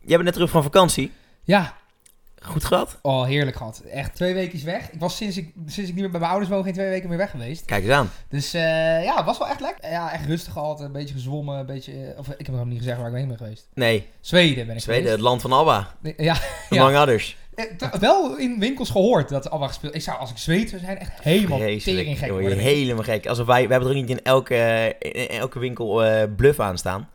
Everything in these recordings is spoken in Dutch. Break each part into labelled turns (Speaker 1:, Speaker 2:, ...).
Speaker 1: jij bent net terug van vakantie.
Speaker 2: Ja,
Speaker 1: Goed gehad?
Speaker 2: oh, heerlijk gehad. Echt twee weken weg. Ik was sinds ik, sinds ik niet meer bij mijn ouders woon geen twee weken meer weg geweest.
Speaker 1: Kijk eens aan.
Speaker 2: Dus eh, ja, het was wel echt lekker. Ja, echt rustig gehad. Een beetje gezwommen. Een beetje, eh, of ik heb nog helemaal niet gezegd waar ik heen ben geweest.
Speaker 1: Nee,
Speaker 2: Zweden ben ik
Speaker 1: Zweden, het land van ABBA.
Speaker 2: geweest. Ja,
Speaker 1: Among others.
Speaker 2: Eh, t- wel in winkels gehoord dat allemaal gespeeld. Ik zou, als ik Zweed zou zijn, echt helemaal
Speaker 1: Vreselijk.
Speaker 2: tering gek
Speaker 1: Dan word je
Speaker 2: worden.
Speaker 1: helemaal gek. Alsof wij, wij hebben er ook niet in elke, in elke winkel eh, bluff aan staan.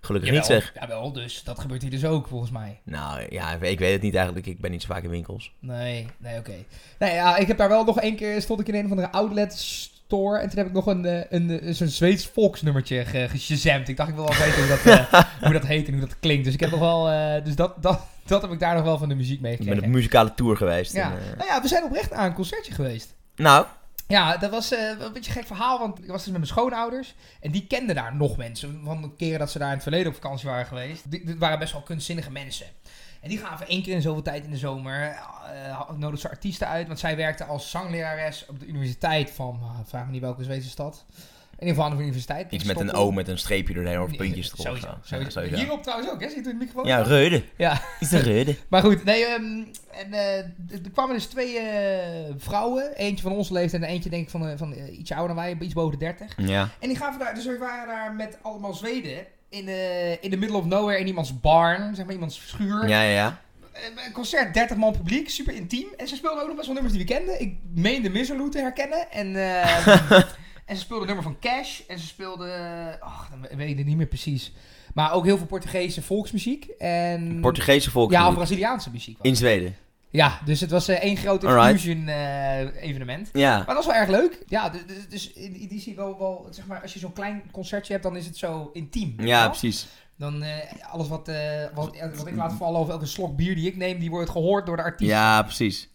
Speaker 1: Gelukkig niet zeg.
Speaker 2: Ja, wel, dus dat gebeurt hier dus ook volgens mij.
Speaker 1: Nou ja, ik weet het niet eigenlijk. Ik ben niet zo vaak in winkels.
Speaker 2: Nee, nee, oké. Nee, ja, ik heb daar wel nog één keer stond ik in een of andere outlet store en toen heb ik nog een, eh, een eh, zo'n Zweeds Fox nummertje ge, geshazamd. Ik dacht ik wil wel weten hoe dat, eh, hoe dat heet en hoe dat klinkt. Dus ik heb nog wel, eh, dus dat, dat, dat heb ik daar nog wel van de muziek
Speaker 1: Ik ben op
Speaker 2: meegekregen.
Speaker 1: muzikale tour geweest.
Speaker 2: Ja,
Speaker 1: En, eh,
Speaker 2: nou ja, we zijn oprecht aan een concertje geweest.
Speaker 1: nou,
Speaker 2: Ja, dat was eh, wel een beetje een gek verhaal, want ik was dus met mijn schoonouders. En die kenden daar nog mensen, van de keren dat ze daar in het verleden op vakantie waren geweest. Die- Dit waren best wel kunstzinnige mensen. En die gaven één keer in zoveel tijd in de zomer, eh nodigden ze artiesten uit. Want zij werkte als zanglerares op de universiteit van, ah, vraag me niet welke Zweedse stad. In ieder geval aan de universiteit.
Speaker 1: iets met een O met een streepje doorheen of puntjes erop.
Speaker 2: Sowieso,
Speaker 1: Ja,
Speaker 2: sowieso.
Speaker 1: sowieso.
Speaker 2: Hierop trouwens ook, hè? Ziet u het microfoon?
Speaker 1: Ja, Reude.
Speaker 2: ja.
Speaker 1: Is de Reude.
Speaker 2: Maar goed, nee, ehm, en, eh, d- er kwamen dus twee eh, vrouwen. Eentje van onze leeftijd en eentje denk ik van, eh, van eh, ietsje ouder dan wij, iets boven de 30.
Speaker 1: Ja.
Speaker 2: En die gaven daar, dus we waren daar met allemaal Zweden in, eh in the middle of nowhere in iemands barn, zeg maar iemands schuur.
Speaker 1: Ja, ja, ja.
Speaker 2: Eh, Een concert, 30 man publiek, super intiem. En ze speelden ook nog best wel nummers die we kenden. Ik meende Miserloo te herkennen en... eh, En ze speelden het nummer van Cash. En ze speelden... Ach, dan weet ik het niet meer precies. Maar ook heel veel Portugese volksmuziek. En...
Speaker 1: Portugese volk
Speaker 2: ja, of Braziliaanse muziek. was
Speaker 1: in Zweden.
Speaker 2: ja, dus het was eh, één groot
Speaker 1: Alright.
Speaker 2: infusion eh, evenement.
Speaker 1: Ja.
Speaker 2: Maar dat was wel erg leuk. Ja, dus, dus, dus in in die zie ik wel, wel, zeg maar, als je zo'n klein concertje hebt, dan is het zo intiem. weet je
Speaker 1: Ja,
Speaker 2: wel?
Speaker 1: precies.
Speaker 2: Dan eh, alles wat, eh, wat, eh, wat ik laat vallen of elke slok bier die ik neem, die wordt gehoord door de artiest.
Speaker 1: Ja, precies.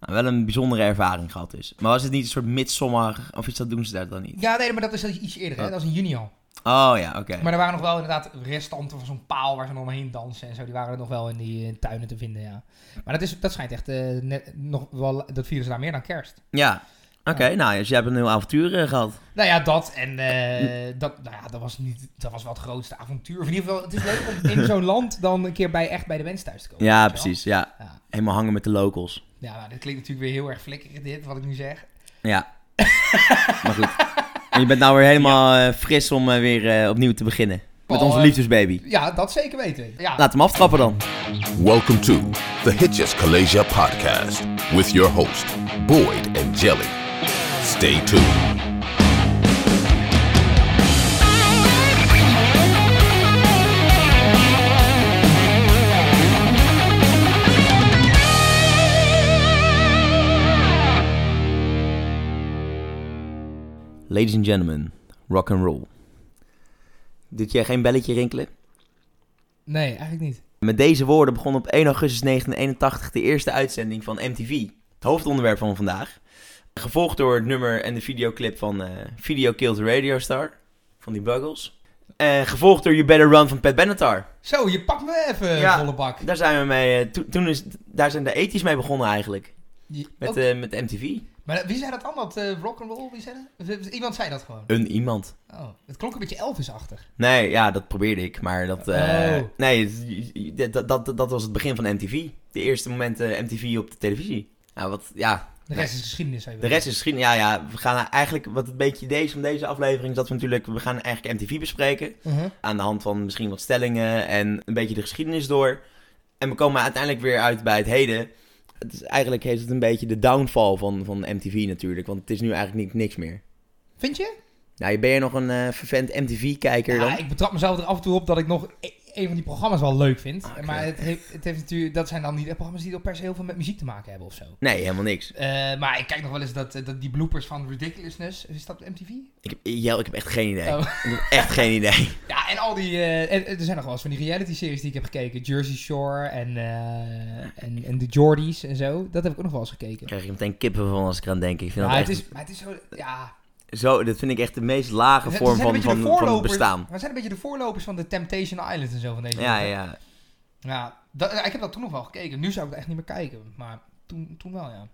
Speaker 1: Nou, wel een bijzondere ervaring gehad dus. Maar was het niet een soort midsommar of iets dat doen ze daar dan niet?
Speaker 2: Ja, nee, maar dat is iets eerder, hè? dat is in juni al.
Speaker 1: Oh ja, oké.
Speaker 2: Maar er waren nog wel inderdaad restanten van zo'n paal waar ze dan omheen dansen en zo. Die waren er nog wel in die eh, tuinen te vinden, ja. Maar dat, is, dat schijnt echt eh, net, nog wel, dat vieren ze daar meer dan kerst.
Speaker 1: Ja. Oké, nou, dus jij hebt een heel avontuur eh, gehad.
Speaker 2: Nou ja, dat en eh, dat, nou ja, dat, was niet, dat was wel het grootste avontuur. Of in ieder geval, het is leuk om in zo'n land dan een keer bij, echt bij de wens thuis te komen.
Speaker 1: Ja,
Speaker 2: weet je wel?
Speaker 1: precies. Ja.
Speaker 2: Ja.
Speaker 1: Helemaal hangen met de locals.
Speaker 2: Ja, maar dit klinkt natuurlijk weer heel erg flikkerig dit, wat ik nu zeg.
Speaker 1: Ja. maar goed. En je bent nou weer helemaal eh, fris om eh, weer eh, opnieuw te beginnen. Met
Speaker 2: Paul,
Speaker 1: onze
Speaker 2: eh,
Speaker 1: liefdesbaby.
Speaker 2: Ja, dat zeker weten. Ja,
Speaker 1: Laat hem aftrappen dan.
Speaker 3: Welcome to the Hitches Kalasia podcast with your host, Boyd and Jelly. Stay tuned.
Speaker 1: Ladies and gentlemen, rock and roll. Doet jij geen belletje rinkelen?
Speaker 2: Nee, eigenlijk niet.
Speaker 1: Met deze woorden begon op 1 augustus 1981 de eerste uitzending van MTV. Het hoofdonderwerp van vandaag. Gevolgd door het nummer en de videoclip van eh, Video Killed the Radio Star van die Buggles. En gevolgd door You Better Run van Pat Benatar.
Speaker 2: Zo, je pakt me even
Speaker 1: Ja.
Speaker 2: volle bak.
Speaker 1: Daar zijn we mee, eh, to- toen is, daar zijn de ethisch mee begonnen eigenlijk.
Speaker 2: Je-
Speaker 1: Met,
Speaker 2: ook-
Speaker 1: eh, met MTV.
Speaker 2: maar wie zei dat dan, dat rock rock'n'roll? Wie zei dat? V- v- Iemand zei dat gewoon.
Speaker 1: Een iemand.
Speaker 2: Oh, het klonk een beetje Elvis-achtig.
Speaker 1: Nee, ja, dat probeerde ik, maar dat... eh,
Speaker 2: Oh.
Speaker 1: Nee, het- dat, dat, dat, dat was het begin van MTV. De eerste momenten MTV op de televisie. Nou, wat, ja,
Speaker 2: De rest is geschiedenis, zou je
Speaker 1: De
Speaker 2: willen
Speaker 1: rest is misschien, ja, ja, we gaan eigenlijk, wat het beetje idee is van deze aflevering, is dat we natuurlijk, we gaan eigenlijk MTV bespreken.
Speaker 2: zeggen. Mhm.
Speaker 1: Aan de hand van misschien wat stellingen en een beetje de geschiedenis door. En we komen uiteindelijk weer uit bij het heden. Het is, eigenlijk heeft het een beetje de downfall van, van MTV natuurlijk, want het is nu eigenlijk niet, niks meer.
Speaker 2: Vind je?
Speaker 1: Nou, ben je nog een eh vervent MTV-kijker dan?
Speaker 2: Ja, ik betrap mezelf er af en toe op dat ik nog e- een van die programma's wel leuk vind.
Speaker 1: Ah,
Speaker 2: Maar het heeft, het heeft natuurlijk, dat zijn dan niet de programma's die per se heel veel met muziek te maken hebben of zo.
Speaker 1: Nee, helemaal niks.
Speaker 2: Eh, maar ik kijk nog wel eens dat, eh, dat die bloopers van Ridiculousness, is dat MTV?
Speaker 1: Ik heb, Jel, ik heb echt geen idee.
Speaker 2: Oh.
Speaker 1: Ik heb echt geen idee.
Speaker 2: Ja, en al die, eh, en, en er zijn nog wel eens van die reality-series die ik heb gekeken. Jersey Shore en, eh, en, en de Geordies en zo. Dat heb ik ook nog wel eens gekeken.
Speaker 1: Daar krijg ik meteen kippen van als ik eraan denk. Ik vind
Speaker 2: Maar
Speaker 1: dat
Speaker 2: het,
Speaker 1: echt,
Speaker 2: is, maar het is zo, ja...
Speaker 1: zo, dat vind ik echt de meest lage
Speaker 2: we zijn- we
Speaker 1: vorm
Speaker 2: zijn een
Speaker 1: van,
Speaker 2: beetje
Speaker 1: van,
Speaker 2: de
Speaker 1: van het
Speaker 2: voorlopers-
Speaker 1: bestaan.
Speaker 2: We zijn een beetje de voorlopers van de Temptation Island en zo van deze
Speaker 1: Ja,
Speaker 2: groepen.
Speaker 1: ja.
Speaker 2: Ja, dat- ik heb dat toen nog wel gekeken. Nu zou ik het echt niet meer kijken, maar toen, toen wel, ja.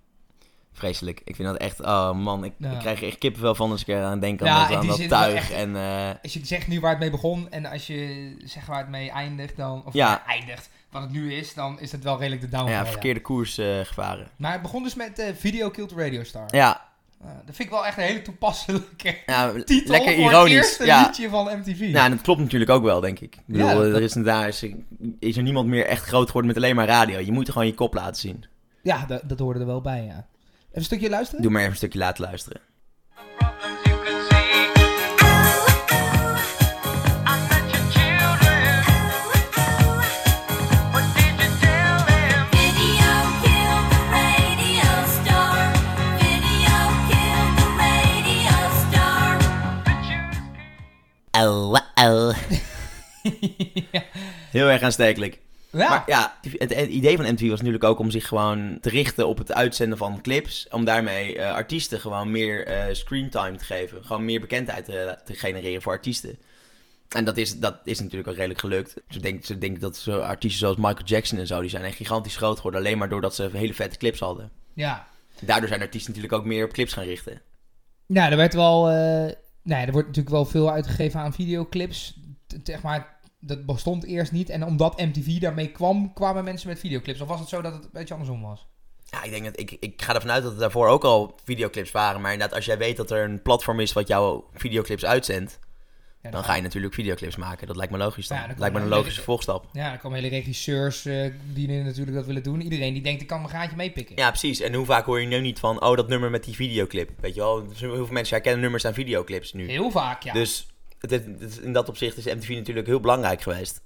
Speaker 1: Vreselijk. Ik vind dat echt... Oh man, ik,
Speaker 2: Ja.
Speaker 1: ik krijg er echt kippenvel van als ik eraan denk aan
Speaker 2: Ja,
Speaker 1: dat-
Speaker 2: in
Speaker 1: aan
Speaker 2: die
Speaker 1: dat
Speaker 2: zin wel
Speaker 1: tuig.
Speaker 2: echt- Oh,
Speaker 1: En eh,
Speaker 2: Als je zegt nu waar het mee begon en als je zegt waar het mee eindigt, dan. Of
Speaker 1: Ja.
Speaker 2: ja, eindigt. wat het nu is, dan is het wel redelijk de
Speaker 1: Ja,
Speaker 2: downfall. ja.
Speaker 1: verkeerde koers eh, gevaren.
Speaker 2: Maar het begon dus met eh, Video Killed Radio Star.
Speaker 1: Ja,
Speaker 2: Eh, dat vind ik wel echt een hele toepasselijke
Speaker 1: ja
Speaker 2: titel
Speaker 1: lekker
Speaker 2: voor het
Speaker 1: ironisch.
Speaker 2: eerste
Speaker 1: Ja.
Speaker 2: liedje van MTV.
Speaker 1: Nou, en dat klopt natuurlijk ook wel, denk ik. Ik bedoel,
Speaker 2: Ja,
Speaker 1: eh,
Speaker 2: dat-
Speaker 1: er is, daar is, is er niemand meer echt groot geworden met alleen maar radio. Je moet gewoon je kop laten zien.
Speaker 2: Ja, dat, dat hoorde er wel bij, ja. Even een stukje luisteren?
Speaker 1: Doe maar even een stukje laten luisteren. Au, au. Heel erg aanstekelijk.
Speaker 2: ja.
Speaker 1: Maar ja, het, het idee van MTV was natuurlijk ook om zich gewoon te richten op het uitzenden van clips. Om daarmee eh, artiesten gewoon meer eh screentime te geven. Gewoon meer bekendheid te, te genereren voor artiesten. En dat is, dat is natuurlijk ook redelijk gelukt. Dus ik denk, ik denk dat zo artiesten zoals Michael Jackson en zo, die zijn echt gigantisch groot geworden. Alleen maar doordat ze hele vette clips hadden.
Speaker 2: ja.
Speaker 1: Daardoor zijn artiesten natuurlijk ook meer op clips gaan richten.
Speaker 2: Nou, er werd wel... eh nou, er wordt natuurlijk wel veel uitgegeven aan videoclips. T- Zeg maar, dat bestond eerst niet. En omdat MTV daarmee kwam, kwamen mensen met videoclips. Of was het zo dat het een beetje andersom was?
Speaker 1: Ja, ik, denk dat, ik, ik ga ervan uit dat er daarvoor ook al videoclips waren. Maar inderdaad, als jij weet dat er een platform is wat jouw videoclips uitzendt.
Speaker 2: Ja,
Speaker 1: Dan ga je natuurlijk videoclips maken. Dat lijkt me logisch dan.
Speaker 2: Ja, dat
Speaker 1: lijkt me een
Speaker 2: kan-
Speaker 1: logische volgstap.
Speaker 2: Ja, er komen hele regisseurs eh, die natuurlijk dat willen doen. Iedereen die denkt, ik kan mijn gaatje meepikken.
Speaker 1: Ja, precies. En hoe vaak hoor je nu niet van... Oh, dat nummer met die videoclip. Weet je wel? Heel veel mensen herkennen nummers aan videoclips nu.
Speaker 2: Heel vaak, ja.
Speaker 1: Dus het, is- het is- in dat opzicht is MTV natuurlijk heel belangrijk geweest.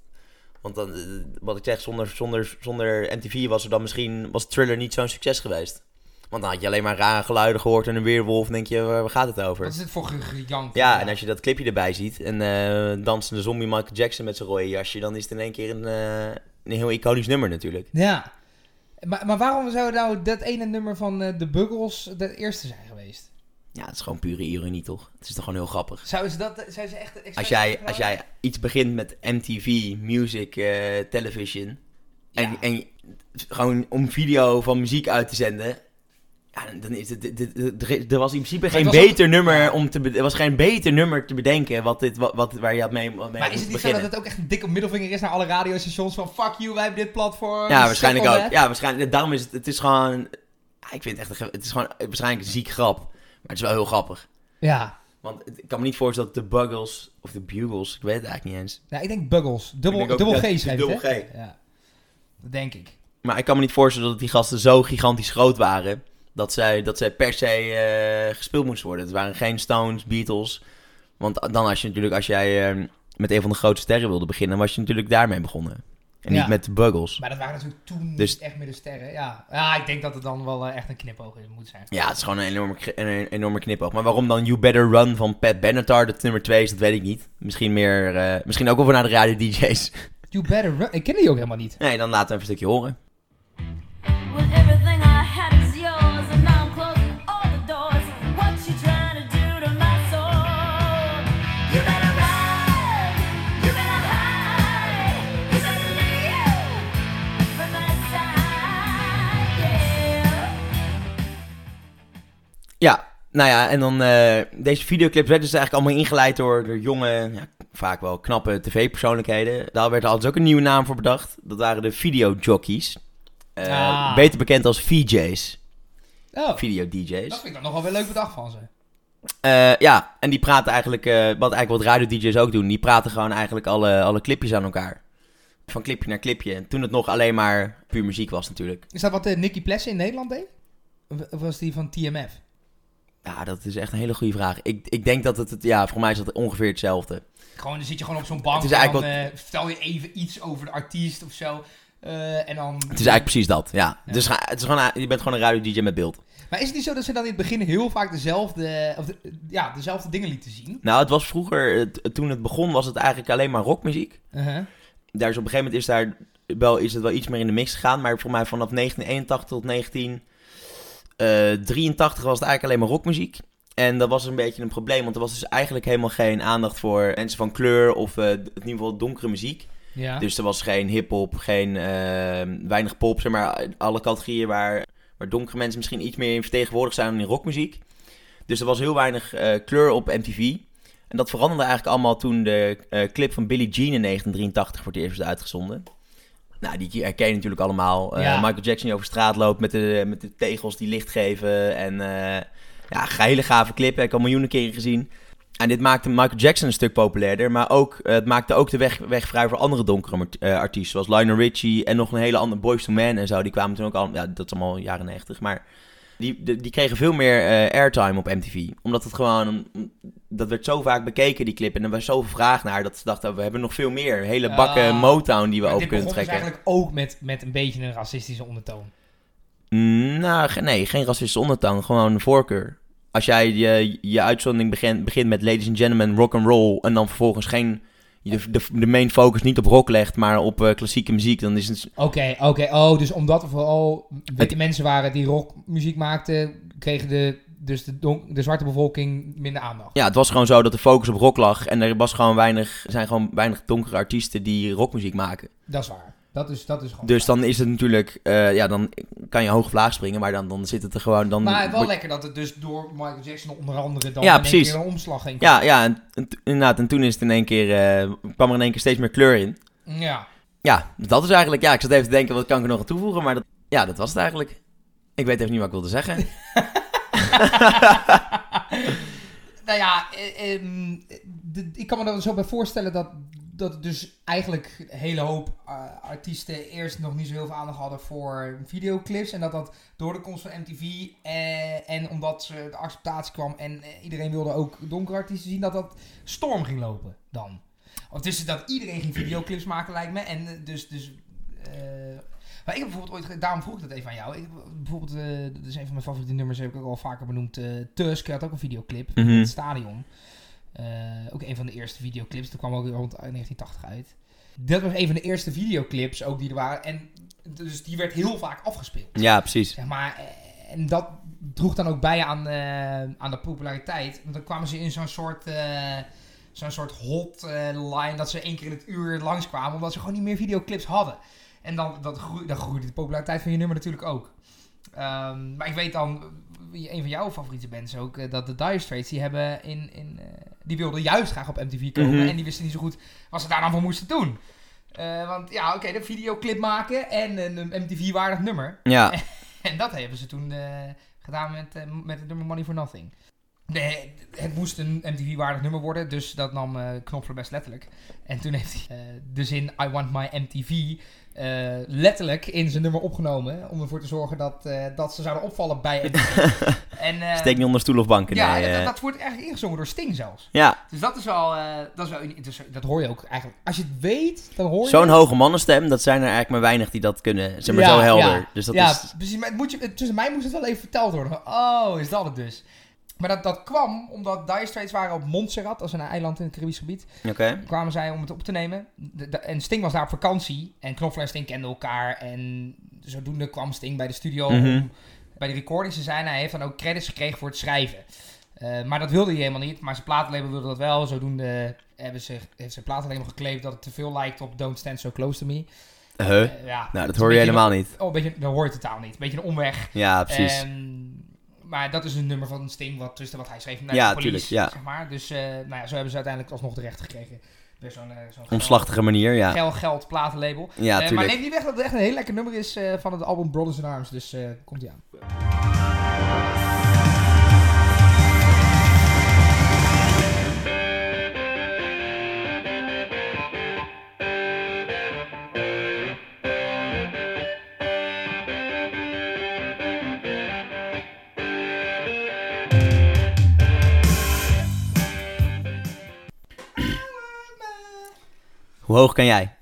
Speaker 1: Want dan, eh, wat ik zeg, zonder, zonder, zonder MTV was er dan misschien... Was Thriller niet zo'n succes geweest. Want dan had je alleen maar rare geluiden gehoord en een weerwolf. En denk je, waar waar gaat het over?
Speaker 2: Wat is het voor ge- gejank?
Speaker 1: Ja, en als je dat clipje erbij ziet en eh dansende zombie Michael Jackson met zijn rode jasje, dan is het in één keer een, eh, een heel iconisch nummer natuurlijk.
Speaker 2: Ja. Maar, maar waarom zou nou dat ene nummer van eh, de Buggles de eerste zijn geweest?
Speaker 1: Ja, het is gewoon pure ironie toch? Het is toch gewoon heel grappig.
Speaker 2: Zouden ze dat... Zijn ze echt... expres
Speaker 1: Als jij,
Speaker 2: gedaan?
Speaker 1: als jij iets begint met MTV, music, eh, television, en,
Speaker 2: Ja.
Speaker 1: en je- gewoon om video van muziek uit te zenden, ja, dan- dan is het, dit- dit- dit- er- er was in principe geen
Speaker 2: het was ook-
Speaker 1: beter nummer om te, be- er was geen beter nummer te bedenken wat dit, wat, wat- waar je had mee, wat mee
Speaker 2: Maar
Speaker 1: moest
Speaker 2: is het niet zo
Speaker 1: beginnen.
Speaker 2: dat het ook echt een dikke middelvinger is naar alle radiostations van... Fuck you, wij hebben dit platform.
Speaker 1: Ja, waarschijnlijk
Speaker 2: Sukkel,
Speaker 1: ook.
Speaker 2: hè?
Speaker 1: Ja, waarschijnlijk. Daarom is het, het is gewoon, ja, ik vind het echt, een ge- het is gewoon eh, waarschijnlijk een ziek grap. Maar het is wel heel grappig.
Speaker 2: Ja.
Speaker 1: Want het- ik kan me niet voorstellen dat de Buggles, of de Bugles, ik weet het eigenlijk niet eens.
Speaker 2: Nou, ik denk Buggles. Dubbel,
Speaker 1: Ik denk ook
Speaker 2: dubbel
Speaker 1: dat-
Speaker 2: G schrijft
Speaker 1: dubbel
Speaker 2: het,
Speaker 1: G.
Speaker 2: hè? Ja. Dat denk ik.
Speaker 1: Maar ik kan me niet voorstellen dat die gasten zo gigantisch groot waren, dat zij, dat zij per se eh, gespeeld moesten worden. Het waren geen Stones, Beatles. Want dan als je natuurlijk, als jij eh, met een van de grote sterren wilde beginnen, was je natuurlijk daarmee begonnen. En
Speaker 2: Ja.
Speaker 1: niet met de Buggles.
Speaker 2: Maar dat waren natuurlijk toen
Speaker 1: Dus-
Speaker 2: echt meer de sterren. Ja. ja, ik denk dat het dan wel eh, echt een knipoog is, moet zijn.
Speaker 1: Ja, het is gewoon een enorme, kri- een, een enorme knipoog. Maar waarom dan You Better Run van Pat Benatar, dat nummer 2 is, dat weet ik niet. Misschien meer, eh, misschien ook wel voor naar de radio DJ's.
Speaker 2: You better run. Ik ken die ook helemaal niet.
Speaker 1: Nee, dan laten we even een stukje horen.
Speaker 4: Well, everything I had is yours, and now I'm closing all the doors. What you trying to do to my soul? You better run, you better hide, 'cause I need you by my side, yeah.
Speaker 1: Ja, nou ja, en dan eh, deze videoclips werden dus eigenlijk allemaal ingeleid door, door jonge, ja, vaak wel knappe tv-persoonlijkheden. Daar werd altijd ook een nieuwe naam voor bedacht. Dat waren de videojockeys. Eh,
Speaker 2: Ah.
Speaker 1: Beter bekend als VJ's,
Speaker 2: Oh, dat
Speaker 1: video-DJ's.
Speaker 2: vind ik dan nogal wel leuk bedacht van ze.
Speaker 1: Eh, ja, en die praten eigenlijk, eh, wat eigenlijk wat radio-dj's ook doen, die praten gewoon eigenlijk alle, alle clipjes aan elkaar. Van clipje naar clipje. En toen het nog alleen maar puur muziek was natuurlijk.
Speaker 2: Is dat wat eh, Nicky Plessen in Nederland deed? Of of was die van TMF?
Speaker 1: Ja, dat is echt een hele goede vraag. Ik, ik denk dat het, het- ja, voor mij is dat ongeveer hetzelfde.
Speaker 2: Gewoon, dan zit je gewoon op zo'n bank
Speaker 1: Het
Speaker 2: en
Speaker 1: is eigenlijk
Speaker 2: dan eh, vertel je even iets over de artiest of zo. Eh, en dan...
Speaker 1: Het is eigenlijk precies dat, ja. Het is, ga- het is gewoon, een- je bent gewoon een radio-dj met beeld.
Speaker 2: Maar is het niet zo dat ze dan in het begin heel vaak dezelfde, of de- ja, dezelfde dingen lieten zien?
Speaker 1: Nou, het was vroeger, het- toen het begon, was het eigenlijk alleen maar rockmuziek.
Speaker 2: Uh-huh.
Speaker 1: Daar is op een gegeven moment is, daar wel, is het wel iets meer in de mix gegaan. Maar voor mij vanaf 1981 tot 1983 was het eigenlijk alleen maar rockmuziek. En dat was een beetje een probleem, want er was dus eigenlijk helemaal geen aandacht voor mensen van kleur of eh, in ieder geval donkere muziek.
Speaker 2: Ja.
Speaker 1: Dus er was geen hip-hop, geen eh, weinig pop, zeg maar alle categorieën waar, waar donkere mensen misschien iets meer in vertegenwoordigd zijn dan in rockmuziek. Dus er was heel weinig eh, kleur op MTV. En dat veranderde eigenlijk allemaal toen de eh, clip van Billie Jean in 1983 voor het eerst werd uitgezonden. Nou, die herken je natuurlijk allemaal. Eh,
Speaker 2: Ja.
Speaker 1: Michael Jackson die over straat loopt met de, met de tegels die licht geven. En eh, ja, een hele gave clip. Heb ik al miljoenen keren gezien. En dit maakte Michael Jackson een stuk populairder. Maar ook, eh, het maakte ook de weg, weg vrij voor andere donkere mar- eh, artiesten. Zoals Lionel Richie en nog een hele andere Boyz II Men en zo. Die kwamen toen ook al... Ja, dat is allemaal jaren 90. Maar die, de- die kregen veel meer eh, airtime op MTV. Omdat het gewoon... Dat werd zo vaak bekeken, die clip. En er was zoveel vraag naar dat ze dachten... We hebben nog veel meer. Hele bakken
Speaker 2: Ja.
Speaker 1: Motown die we
Speaker 2: Maar
Speaker 1: over kunnen
Speaker 2: dit begon dus
Speaker 1: trekken.
Speaker 2: eigenlijk ook met, met een beetje een racistische ondertoon.
Speaker 1: Mm, Nou, ge- nee, geen racistische ondertoon, gewoon voorkeur. Als jij je, je uitzondering begint, begint met ladies and gentlemen, rock and roll, en dan vervolgens geen de, de, de main focus niet op rock legt, maar op eh, klassieke muziek, dan is het.
Speaker 2: Oké, oké. Oh, dus omdat er vooral witte mensen waren die rockmuziek maakten, kregen de, dus de, donk- de zwarte bevolking minder aandacht.
Speaker 1: Ja, het was gewoon zo dat de focus op rock lag en er was gewoon weinig, er zijn gewoon weinig donkere artiesten die rockmuziek maken.
Speaker 2: Dat is waar. Dat is, dat is gewoon.
Speaker 1: Dus dan is het natuurlijk, eh, ja, dan kan je hoog of laag springen, maar dan, dan zit het er gewoon. Dan
Speaker 2: maar wel
Speaker 1: wordt-
Speaker 2: lekker dat het dus door Michael Jackson onder andere dan
Speaker 1: Ja,
Speaker 2: in één
Speaker 1: precies.
Speaker 2: keer een omslag ging.
Speaker 1: ja, ja en, en- inderdaad. En toen is het in één keer, eh, kwam er in één keer steeds meer kleur in.
Speaker 2: ja.
Speaker 1: Ja, dat is eigenlijk. Ja, ik zat even te denken, wat kan ik er nog aan toevoegen? Maar dat, ja, dat was het eigenlijk. Ik weet even niet wat ik wilde zeggen.
Speaker 2: Nou ja, eh, ehm, de- ik kan me er zo bij voorstellen dat, dat dus eigenlijk een hele hoop eh, artiesten eerst nog niet zo heel veel aandacht hadden voor videoclips. En dat dat door de komst van MTV eh, en omdat ze de acceptatie kwam en eh, iedereen wilde ook donkere artiesten zien, dat dat storm ging lopen dan. Of dus dat iedereen ging videoclips maken lijkt me. En eh, dus... dus eh, maar ik heb bijvoorbeeld ooit, ge- daarom vroeg ik dat even aan jou. Ik, heb bijvoorbeeld, eh, dat is een van mijn favoriete nummers, heb ik ook al vaker benoemd. eh, Tusk had ook een videoclip
Speaker 1: Mhm.
Speaker 2: in het stadion. Eh, ook een van de eerste videoclips. Dat kwam ook rond 1980 uit. Dat was een van de eerste videoclips ook die er waren. En dus die werd heel vaak afgespeeld.
Speaker 1: Ja, precies.
Speaker 2: Zeg maar, eh, en dat droeg dan ook bij aan, eh, aan de populariteit. Want dan kwamen ze in zo'n soort, eh, zo'n soort hot eh, line dat ze één keer in het uur langskwamen. Omdat ze gewoon niet meer videoclips hadden. En dan, dat groe- dan groeide de populariteit van je nummer natuurlijk ook. Ehm, maar ik weet dan, wie- een van jouw favoriete bands ook, eh, dat de Dire Straits, die hebben in, in eh, die wilden juist graag op MTV komen
Speaker 1: Mhm.
Speaker 2: en die wisten niet zo goed wat ze daar nou voor moesten doen. Eh, want ja, oké, de videoclip maken en eh, een MTV-waardig nummer.
Speaker 1: Ja,
Speaker 2: En dat hebben ze toen eh, gedaan met, eh, met het nummer Money for Nothing. Nee, het moest een MTV-waardig nummer worden, dus dat nam eh Knopfler best letterlijk. En toen heeft hij eh, de zin I want my MTV eh, letterlijk in zijn nummer opgenomen. Om ervoor te zorgen dat, eh, dat ze zouden opvallen bij MTV. en, eh,
Speaker 1: steek niet onder stoel of banken.
Speaker 2: ja,
Speaker 1: nee,
Speaker 2: en dat,
Speaker 1: eh.
Speaker 2: dat wordt eigenlijk ingezongen door Sting zelfs.
Speaker 1: ja.
Speaker 2: Dus dat is wel, eh, dat is wel interessant. Dat hoor je ook eigenlijk. Als je het weet, dan hoor je
Speaker 1: zo'n hoge mannenstem, dat zijn er eigenlijk maar weinig die dat kunnen. Zeg maar
Speaker 2: Ja,
Speaker 1: zo helder.
Speaker 2: ja.
Speaker 1: Dus dat
Speaker 2: ja,
Speaker 1: is...
Speaker 2: precies. Maar het moet je, het- tussen mij moest het wel even verteld worden. Van, Oh, is dat het dus? Maar dat, dat kwam omdat Dire Straits waren op Montserrat, als een eiland in het Caribisch gebied.
Speaker 1: Oké.
Speaker 2: Kwamen zij om het op te nemen. De- de- en Sting was daar op vakantie. En Knopfler en Sting kenden elkaar. En zodoende kwam Sting bij de studio
Speaker 1: Mhm.
Speaker 2: om bij de recordings te zijn. Hij heeft dan ook credits gekregen voor het schrijven. Eh, maar dat wilde hij helemaal niet. Maar zijn platenlabel wilde dat wel. Zodoende hebben ze, heeft zijn platenlabel geclaimd dat het te veel lijkt op Don't Stand So Close To Me.
Speaker 1: Huh?
Speaker 2: Eh, ja,
Speaker 1: Nou,
Speaker 2: het
Speaker 1: dat
Speaker 2: is
Speaker 1: hoor je
Speaker 2: een beetje
Speaker 1: helemaal niet.
Speaker 2: Oh, een beetje, dat hoor je totaal niet. Een beetje een omweg.
Speaker 1: Ja, precies.
Speaker 2: Ehm, maar dat is een nummer van Sting wat, tussen wat hij schreef naar
Speaker 1: Ja,
Speaker 2: de police,
Speaker 1: tuurlijk, ja.
Speaker 2: zeg maar. Dus eh, nou ja, zo hebben ze uiteindelijk alsnog de recht gekregen. Weer zo'n eh, zo'n
Speaker 1: Omslachtige manier,
Speaker 2: Geld,
Speaker 1: ja.
Speaker 2: gel- geld platenlabel.
Speaker 1: Ja,
Speaker 2: Eh, maar
Speaker 1: tuurlijk.
Speaker 2: neem niet weg dat het echt een heel lekker nummer is eh, van het album Brothers in Arms. Dus eh, komt ie aan.
Speaker 1: Hoe hoog kan jij?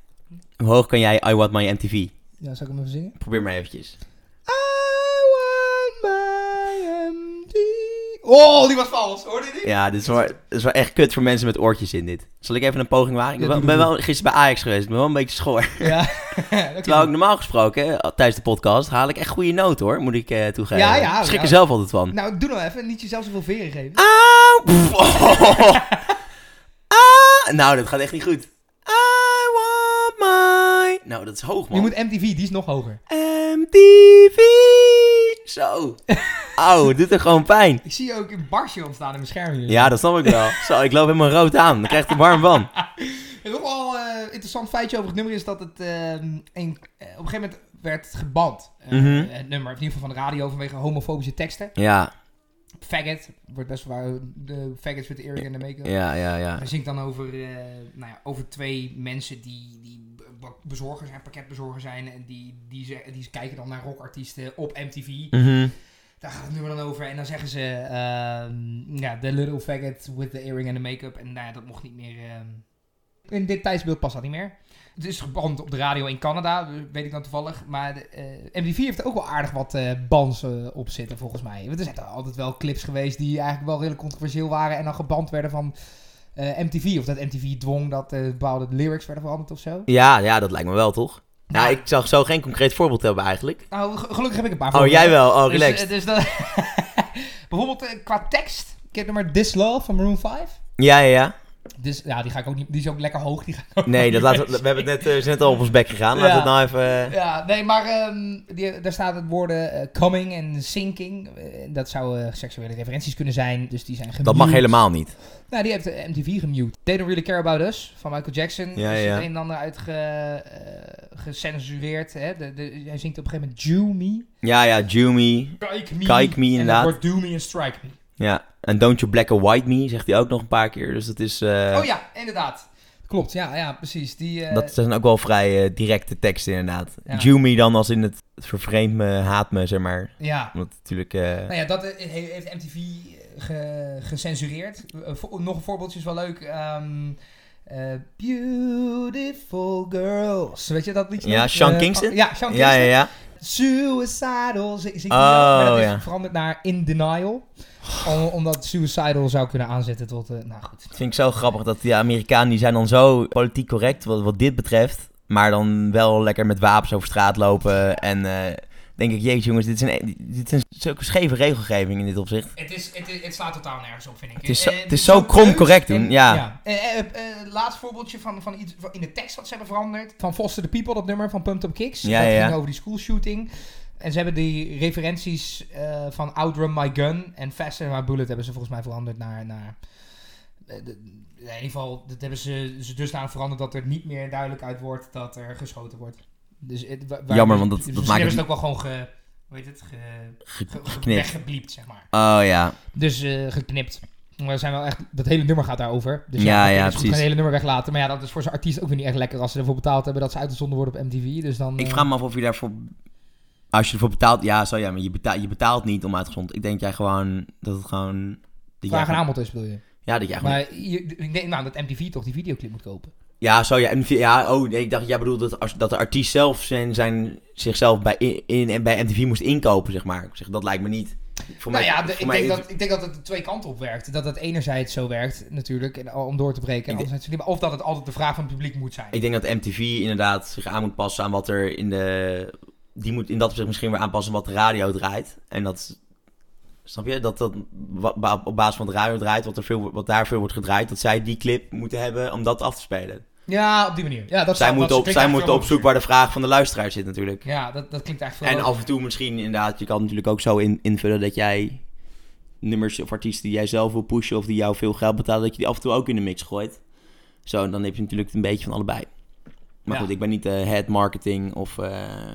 Speaker 1: Hoe hoog kan jij I Want My MTV?
Speaker 2: Ja, zal ik hem even zingen?
Speaker 1: Probeer maar eventjes.
Speaker 2: I want my MD. Oh, die was vals. Hoorde je die?
Speaker 1: Ja, dit is, wel, dit is wel echt kut voor mensen met oortjes in dit. Zal ik even een poging wagen? Ik ben
Speaker 2: Ja,
Speaker 1: wel-
Speaker 2: doe, doe,
Speaker 1: ben wel gisteren bij Ajax geweest. Ik ben wel een beetje schor.
Speaker 2: Ja, dat
Speaker 1: Terwijl
Speaker 2: klopt.
Speaker 1: ik normaal gesproken, hè, tijdens de podcast, haal ik echt goede noten hoor, moet ik eh, toegeven.
Speaker 2: Ja, ja,
Speaker 1: Ik schrik
Speaker 2: ja.
Speaker 1: er zelf altijd van.
Speaker 2: Nou, doe nou even. Niet jezelf zoveel veren
Speaker 1: Ah,
Speaker 2: geven.
Speaker 1: Auw! Pff, oh. Ah, nou, dat gaat echt niet goed. I want my... Nou, dat is hoog
Speaker 2: Je
Speaker 1: man.
Speaker 2: moet MTV, die is nog hoger.
Speaker 1: MTV! Zo. Auw, het doet er gewoon pijn.
Speaker 2: Ik zie ook een barsje ontstaan in mijn scherm hier.
Speaker 1: Ja, dat snap ik wel. Zo, ik loop helemaal rood aan. Dan krijgt hij warm van.
Speaker 2: En nog wel eh, interessant feitje over het nummer is dat het eh, een, eh, op een gegeven moment werd het geband. eh,
Speaker 1: Mhm.
Speaker 2: Het nummer, in ieder geval van de radio, vanwege homofobische teksten.
Speaker 1: Ja,
Speaker 2: Faggot, wordt best wel de faggots met de earring en de make-up.
Speaker 1: ja, ja, ja.
Speaker 2: Hij zingt dan over, eh, nou ja, over twee mensen die, die be- bezorger zijn, pakketbezorger zijn. En die, die, ze- die kijken dan naar rockartiesten op MTV.
Speaker 1: Mhm.
Speaker 2: Daar gaat het nummer dan over. En dan zeggen ze, ehm, ja, the little faggot with the earring and the make-up. En nou ja, dat mocht niet meer. ehm. In dit tijdsbeeld past dat niet meer. Het is geband op de radio in Canada, dus weet ik dan toevallig. Maar de, eh, MTV heeft er ook wel aardig wat eh bans eh, op zitten, volgens mij. Want er zijn er altijd wel clips geweest die eigenlijk wel redelijk controversieel waren. En dan geband werden van eh, MTV. Of dat MTV dwong dat eh, bepaalde lyrics werden veranderd of zo.
Speaker 1: Ja, ja, dat lijkt me wel, toch? Nou, ik zag zo geen concreet voorbeeld hebben eigenlijk.
Speaker 2: Nou, ge- gelukkig heb ik een paar
Speaker 1: Oh,
Speaker 2: voorbeelden.
Speaker 1: jij wel. Oh,
Speaker 2: Dus,
Speaker 1: relaxed.
Speaker 2: eh, Dus, dat- bijvoorbeeld eh, qua tekst. Ik heb nummer This Love van Maroon 5.
Speaker 1: Ja, ja, ja.
Speaker 2: Dus ja, die ga ik ook niet. Die is ook lekker hoog. Die ga ik ook
Speaker 1: Nee, dat
Speaker 2: niet
Speaker 1: laten
Speaker 2: meer
Speaker 1: we, we hebben het net, eh, is net al op ons bek gegaan. Laten we het nou even... eh,
Speaker 2: Ja, nee, maar ehm, die, daar staat het woorden eh, coming en sinking. Eh, dat zou eh, seksuele referenties kunnen zijn. Dus die zijn gemute.
Speaker 1: Dat mag helemaal niet.
Speaker 2: Nou, die heeft de MTV gemute. They Don't Really Care About Us van Michael Jackson.
Speaker 1: Ja,
Speaker 2: is
Speaker 1: ja.
Speaker 2: het een en ander uit ge, eh, gecensureerd. Hè? De, de, hij zingt op een gegeven moment Jew me.
Speaker 1: Ja, ja, Jumi.
Speaker 2: Kijk me.
Speaker 1: Kijk me,
Speaker 2: En dat
Speaker 1: inderdaad.
Speaker 2: wordt do me en strike me.
Speaker 1: Ja. En Don't You Black and White Me zegt hij ook nog een paar keer. Dus dat is... eh,
Speaker 2: Oh ja, inderdaad. Klopt, ja, ja precies. Die, eh,
Speaker 1: Dat zijn ook wel vrij eh, directe teksten inderdaad.
Speaker 2: Ja.
Speaker 1: Jumi dan als in het, het vervreemd me, haat me, zeg maar.
Speaker 2: Ja.
Speaker 1: Omdat het natuurlijk... eh,
Speaker 2: Nou ja, dat eh, he- heeft MTV eh, ge- gecensureerd. Eh, vo- Nog een voorbeeldje is wel leuk. ehm, eh, beautiful girls. Weet je dat liedje?
Speaker 1: Ja,
Speaker 2: nog?
Speaker 1: Sean
Speaker 2: Eh,
Speaker 1: Kingston?
Speaker 2: oh, ja, Sean Kingston.
Speaker 1: ja, ja, ja.
Speaker 2: Suicidal. zi- zingt hij
Speaker 1: Oh,
Speaker 2: wel, maar dat is
Speaker 1: ja.
Speaker 2: veranderd naar In Denial. Om- omdat Suicidal zou kunnen aanzetten tot... eh, nou goed.
Speaker 1: Vind ik zo grappig dat de Amerikanen die zijn dan zo politiek correct wat, wat dit betreft. Maar dan wel lekker met wapens over straat lopen. En eh, denk ik, jeetje jongens, dit is, een, dit is een, zulke scheve regelgeving in dit opzicht.
Speaker 2: Het, is, het, is- het slaat totaal nergens op, vind ik.
Speaker 1: Het is zo-
Speaker 2: Eh,
Speaker 1: het is zo krom
Speaker 2: keus
Speaker 1: correct doen, ja.
Speaker 2: Eh, eh, eh, laatste voorbeeldje van, van iets van- in de tekst wat ze hebben veranderd. Van Foster the People, dat nummer van Pumped Up Kicks.
Speaker 1: Ja,
Speaker 2: dat
Speaker 1: ja, ja.
Speaker 2: ging over die schoolshooting. En ze hebben die referenties eh, van Outrun My Gun en Faster My Bullet hebben ze volgens mij veranderd naar... naar eh, de- in ieder geval, dat hebben ze, ze dusdanig veranderd dat er niet meer duidelijk uit wordt dat er geschoten wordt. Dus, het- wa- waar- dus
Speaker 1: Jammer, want dat- dat
Speaker 2: misschien
Speaker 1: maakt
Speaker 2: hebben
Speaker 1: het
Speaker 2: ze het ook wel gewoon ge, hoe heet het, ge, ge- ge-
Speaker 1: geknipt.
Speaker 2: weggebliept, zeg maar.
Speaker 1: Oh ja,
Speaker 2: Dus eh, geknipt. Maar er zijn wel echt, dat hele nummer gaat daarover. Dus
Speaker 1: Ja,
Speaker 2: dat
Speaker 1: ja,
Speaker 2: is goed,
Speaker 1: precies.
Speaker 2: Het hele nummer weglaten. Maar ja, dat is voor zo'n artiest ook weer niet echt lekker als ze ervoor betaald hebben dat ze uitgezonden worden op MTV. Dus dan.
Speaker 1: ik
Speaker 2: eh,
Speaker 1: vraag me af of je daarvoor... Als je ervoor betaalt, ja, zo ja, maar je betaalt, je betaalt niet om uitgezond. Ik denk jij gewoon dat het gewoon... Dat jij
Speaker 2: vraag en
Speaker 1: gewoon-
Speaker 2: aanbod is, bedoel je.
Speaker 1: ja, dat jij gewoon...
Speaker 2: Maar je- ik denk nou, dat MTV toch die videoclip moet kopen.
Speaker 1: Ja, zo ja. en- Ja, oh nee, ik dacht, jij bedoelt dat, als, dat de artiest zelf zijn, zijn zichzelf bij, in, in- en bij MTV moest inkopen, zeg maar. Ik zeg, dat lijkt me niet. Voor
Speaker 2: nou ja, de-
Speaker 1: voor
Speaker 2: ik, denk dat, ik denk dat het de twee kanten op werkt. Dat het enerzijds zo werkt, natuurlijk, en, om door te breken. En
Speaker 1: Ik denk-
Speaker 2: anderzijds niet. Maar Of dat het altijd de vraag van het publiek moet zijn.
Speaker 1: ik denk dat MTV inderdaad zich aan moet passen aan wat er in de... Die moet in dat opzicht misschien weer aanpassen aan wat de radio draait. En dat... Snap je? Dat dat wa- ba- op basis van wat de radio draait, wat, er veel, wat daar veel wordt gedraaid, dat zij die clip moeten hebben om dat af te spelen.
Speaker 2: Ja, op die manier. Ja, dat
Speaker 1: Zij
Speaker 2: zou- dat
Speaker 1: moeten op,
Speaker 2: klinkt
Speaker 1: zij
Speaker 2: eigenlijk
Speaker 1: moeten
Speaker 2: wel
Speaker 1: op zoek waar de vraag van de luisteraar zit natuurlijk.
Speaker 2: Ja, dat, dat klinkt eigenlijk
Speaker 1: En
Speaker 2: veel
Speaker 1: af en toe misschien inderdaad, je kan natuurlijk ook zo in, invullen dat jij nummers of artiesten die jij zelf wil pushen of die jou veel geld betalen, dat je die af en toe ook in de mix gooit. Zo, en dan heb je natuurlijk een beetje van allebei. Maar
Speaker 2: Ja.
Speaker 1: goed, ik ben niet eh head marketing of eh,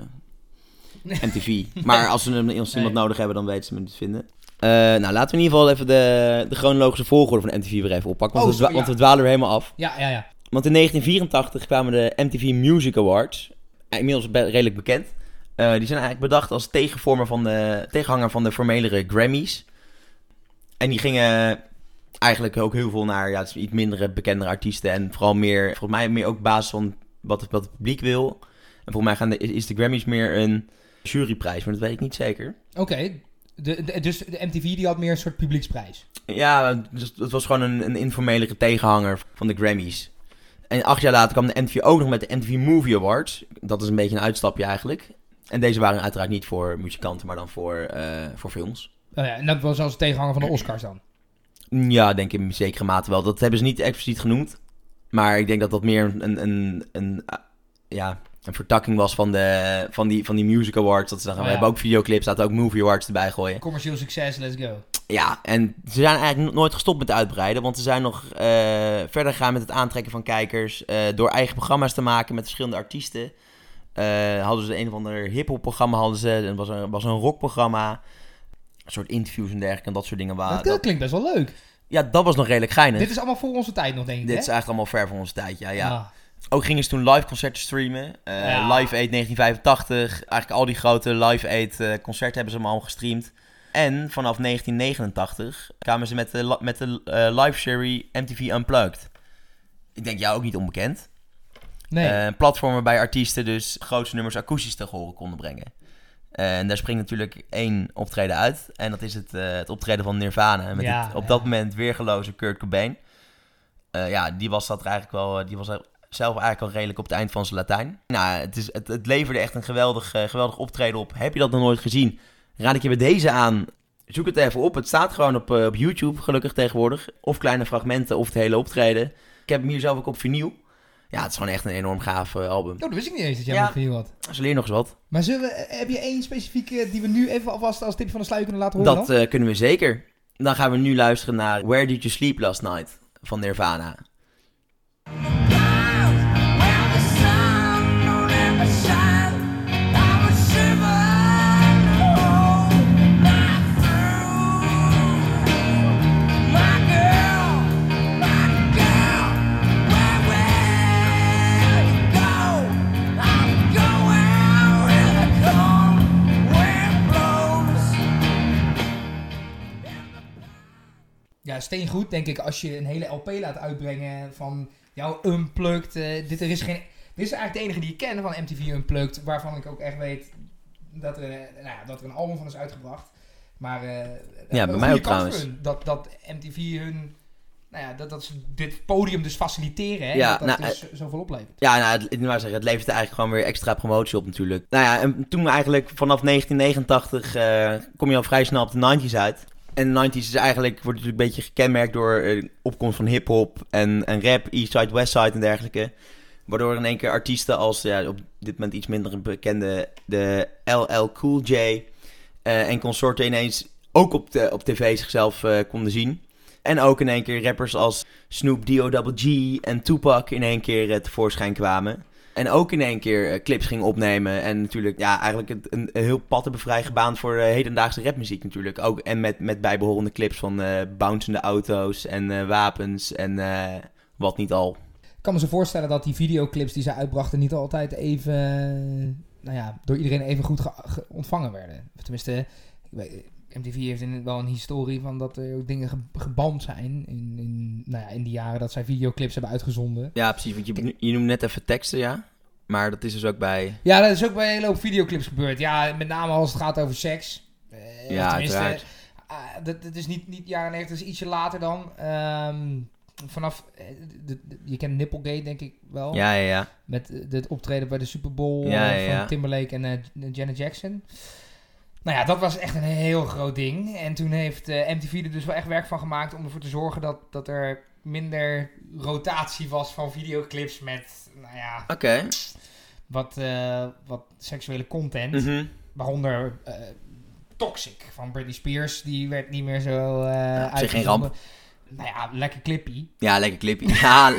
Speaker 1: MTV. Maar als ze, hem- als ze
Speaker 2: Nee.
Speaker 1: iemand nodig hebben, dan weten ze me te vinden. Eh, nou, laten we in ieder geval even de, de chronologische volgorde van MTV weer even oppakken. Want,
Speaker 2: Oh,
Speaker 1: we, dwa-
Speaker 2: zo, ja.
Speaker 1: want we dwalen er helemaal af.
Speaker 2: Ja, ja, ja.
Speaker 1: Want in 1984 kwamen de MTV Music Awards, eh, inmiddels be- redelijk bekend. Eh, die zijn eigenlijk bedacht als tegenvormer van de, tegenhanger van de formelere Grammys. En die gingen eigenlijk ook heel veel naar ja, het is iets mindere, bekendere artiesten. En vooral meer, volgens mij meer ook op basis van wat het, wat het publiek wil. En volgens mij gaan de, is- is de Grammys meer een juryprijs, maar dat weet ik niet zeker.
Speaker 2: Oké. De, de- dus de MTV die had meer een soort publieksprijs.
Speaker 1: Ja, dus het was gewoon een, een informelere tegenhanger van de Grammys. En acht jaar later kwam de MTV ook nog met de MTV Movie Awards. Dat is een beetje een uitstapje eigenlijk. En deze waren uiteraard niet voor muzikanten, maar dan voor, eh, voor films.
Speaker 2: Oh ja, en dat was als tegenhanger van de Oscars dan.
Speaker 1: Ja, denk ik in zekere mate wel. Dat hebben ze niet expliciet genoemd. Maar ik denk dat dat meer een, een, een eh, ja, een vertakking was van, de, van, die, van die Music Awards. Dat ze dan gaan,
Speaker 2: Oh,
Speaker 1: We
Speaker 2: ja.
Speaker 1: hebben ook videoclips, laten we ook Movie Awards erbij gooien.
Speaker 2: Commercieel succes, let's go.
Speaker 1: Ja, en ze zijn eigenlijk no- nooit gestopt met uitbreiden. Want ze zijn nog eh, verder gegaan met het aantrekken van kijkers. eh, door eigen programma's te maken met verschillende artiesten. Eh, hadden ze een of ander hip-hop programma, hadden ze. En was een, was een rockprogramma. Een soort interviews en dergelijke en Ah, dat soort dingen waren.
Speaker 2: dat, dat klinkt best wel leuk.
Speaker 1: ja, dat was nog redelijk geinig.
Speaker 2: Dit is allemaal voor onze tijd nog, denk ik.
Speaker 1: Dit is
Speaker 2: hè?
Speaker 1: eigenlijk allemaal ver van onze tijd, ja. ja.
Speaker 2: Ah.
Speaker 1: Ook gingen ze toen live concerten streamen. Eh,
Speaker 2: Ja.
Speaker 1: Live Aid 1985. Eigenlijk al die grote Live Aid eh, concerten hebben ze allemaal gestreamd. En vanaf 1989 kwamen ze met de, li- met de eh, live serie MTV Unplugged. Ik denk jou ook niet onbekend.
Speaker 2: Nee.
Speaker 1: Eh, Een platform waarbij artiesten dus grootste nummers akoestisch te horen konden brengen. Eh, en daar springt natuurlijk één optreden uit. En dat is het, eh, het optreden van Nirvana. Met
Speaker 2: Ja,
Speaker 1: het op
Speaker 2: ja.
Speaker 1: dat moment weergeloze Kurt Cobain. Eh, ja, die was dat er eigenlijk wel. eh, Die was er zelf eigenlijk al redelijk op het eind van zijn Latijn. Nou, het, is, het, het leverde echt een geweldig, eh, geweldig optreden op. Heb je dat nog nooit gezien? Raad ik je bij deze aan. Zoek het even op. Het staat gewoon op, eh, op YouTube, gelukkig tegenwoordig. Of kleine fragmenten of het hele optreden. Ik heb hem hier zelf ook op vinyl. Ja, het is gewoon echt een enorm gaaf eh, album.
Speaker 2: Oh, dat wist ik niet eens dat jij
Speaker 1: Ja.
Speaker 2: nog hier had.
Speaker 1: Ze leer nog eens wat.
Speaker 2: Maar zullen we, eh, heb je één specifieke die we nu even alvast als tip van de sluier kunnen laten horen
Speaker 1: Dat
Speaker 2: dan?
Speaker 1: eh, kunnen we zeker. Dan gaan we nu luisteren naar Where Did You Sleep Last Night van Nirvana.
Speaker 2: Ja, steengoed denk ik als je een hele LP laat uitbrengen van jouw Unplugged. eh, dit, er is geen, dit is eigenlijk de enige die ik ken van MTV Unplugged, waarvan ik ook echt weet dat er, eh, nou, ja, dat er een album van is uitgebracht. Maar eh,
Speaker 1: bij
Speaker 2: een
Speaker 1: mij
Speaker 2: goede
Speaker 1: ook
Speaker 2: kans
Speaker 1: trouwens.
Speaker 2: voor hun, dat, dat MTV hun, nou ja, dat, dat ze dit podium dus faciliteren hè,
Speaker 1: Ja,
Speaker 2: dat dat
Speaker 1: nou,
Speaker 2: dus zoveel oplevert.
Speaker 1: Ja, nou, het, ik wou zeggen, het levert eigenlijk gewoon weer extra promotie op natuurlijk. Nou ja, en toen eigenlijk vanaf 1989 eh, kom je al vrij snel op de 90s uit. En de 90s is eigenlijk, wordt natuurlijk een beetje gekenmerkt door eh, opkomst van hip-hop en, en rap, Eastside, Westside en dergelijke. Waardoor in één keer artiesten als ja, op dit moment iets minder bekende de LL Cool J eh, en consorten ineens ook op, de, op tv zichzelf eh, konden zien. En ook in één keer rappers als Snoop, D.O.G. en Tupac in één keer eh, tevoorschijn kwamen. En ook in één keer eh, clips gingen opnemen. En natuurlijk, ja, eigenlijk het- een, een heel pad hebben vrijgebaand voor eh, hedendaagse rapmuziek natuurlijk. Ook, en met, met bijbehorende clips van eh bouncende auto's en eh, wapens en eh, wat niet al.
Speaker 2: Ik kan me zo voorstellen dat die videoclips die ze uitbrachten niet altijd even, eh, nou ja, door iedereen even goed ge- ge- ontvangen werden. Of tenminste, ik weet- MTV heeft in- wel een historie van dat er ook dingen ge- geband zijn in, in, nou ja, in die jaren dat zij videoclips hebben uitgezonden.
Speaker 1: Ja, precies. Want je, je noemt net even teksten, ja. Maar dat is dus ook bij...
Speaker 2: Ja, dat is ook bij een hele hoop videoclips gebeurd. Ja, met name als het gaat over seks. Eh,
Speaker 1: Ja,
Speaker 2: tenminste,
Speaker 1: uiteraard.
Speaker 2: ah, dat, dat is niet, niet jaren 90, dat is ietsje later dan. Ehm, vanaf, eh, de- de- je kent Nipplegate denk ik wel.
Speaker 1: Ja, ja, ja.
Speaker 2: Met eh, dit optreden bij de Super Bowl
Speaker 1: Ja,
Speaker 2: eh,
Speaker 1: ja,
Speaker 2: van
Speaker 1: ja.
Speaker 2: Timberlake en eh, Janet Jackson. Nou ja, dat was echt een heel groot ding. En toen heeft eh, MTV er dus wel echt werk van gemaakt om ervoor te zorgen dat, dat er minder rotatie was van videoclips met, nou ja,
Speaker 1: Oké.
Speaker 2: wat, eh, wat seksuele content.
Speaker 1: Mhm.
Speaker 2: Waaronder eh, Toxic van Britney Spears. Die werd niet meer zo eh
Speaker 1: op zich geen
Speaker 2: uitgezonden. Nou ja, lekker clippy.
Speaker 1: Ja, lekker clipje. Ja,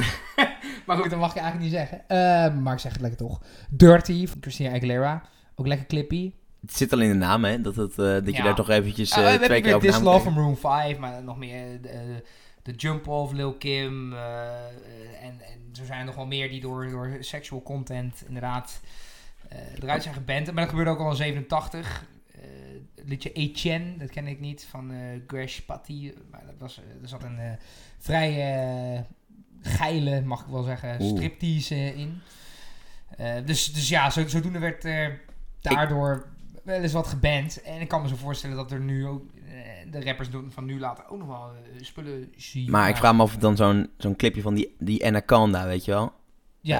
Speaker 2: Maar goed, dat mag ik eigenlijk niet zeggen. Eh, maar ik zeg het lekker toch. Dirty van Christina Aguilera. Ook lekker clippy.
Speaker 1: Het zit al in de naam, hè? Dat, het, eh, dat je
Speaker 2: Ja.
Speaker 1: daar toch eventjes eh,
Speaker 2: Ah, we
Speaker 1: twee
Speaker 2: hebben
Speaker 1: keer
Speaker 2: weer
Speaker 1: over na
Speaker 2: This
Speaker 1: moet
Speaker 2: Love
Speaker 1: denken.
Speaker 2: van Room 5. Maar nog meer eh, de, de Jump Off, Lil Kim. eh, eh, en, en zo zijn er nog wel meer die door, door sexual content inderdaad eh, eruit zijn geband. Maar dat gebeurde ook al in 87. Eh, het liedje Etienne, dat ken ik niet, van eh Gresh Patty. Maar dat was, eh, er zat een eh, vrij eh, geile, mag ik wel zeggen,
Speaker 1: Oeh.
Speaker 2: striptease eh, in. Eh, dus, dus ja, zo, zodoende werd er daardoor wel eens wat geband. En ik kan me zo voorstellen dat er nu ook eh, de rappers doen van nu later ook nog wel eh, spullen zien.
Speaker 1: Maar ik vraag me af of dan zo'n zo'n clipje van die, die Anaconda, weet je wel.
Speaker 2: Ja,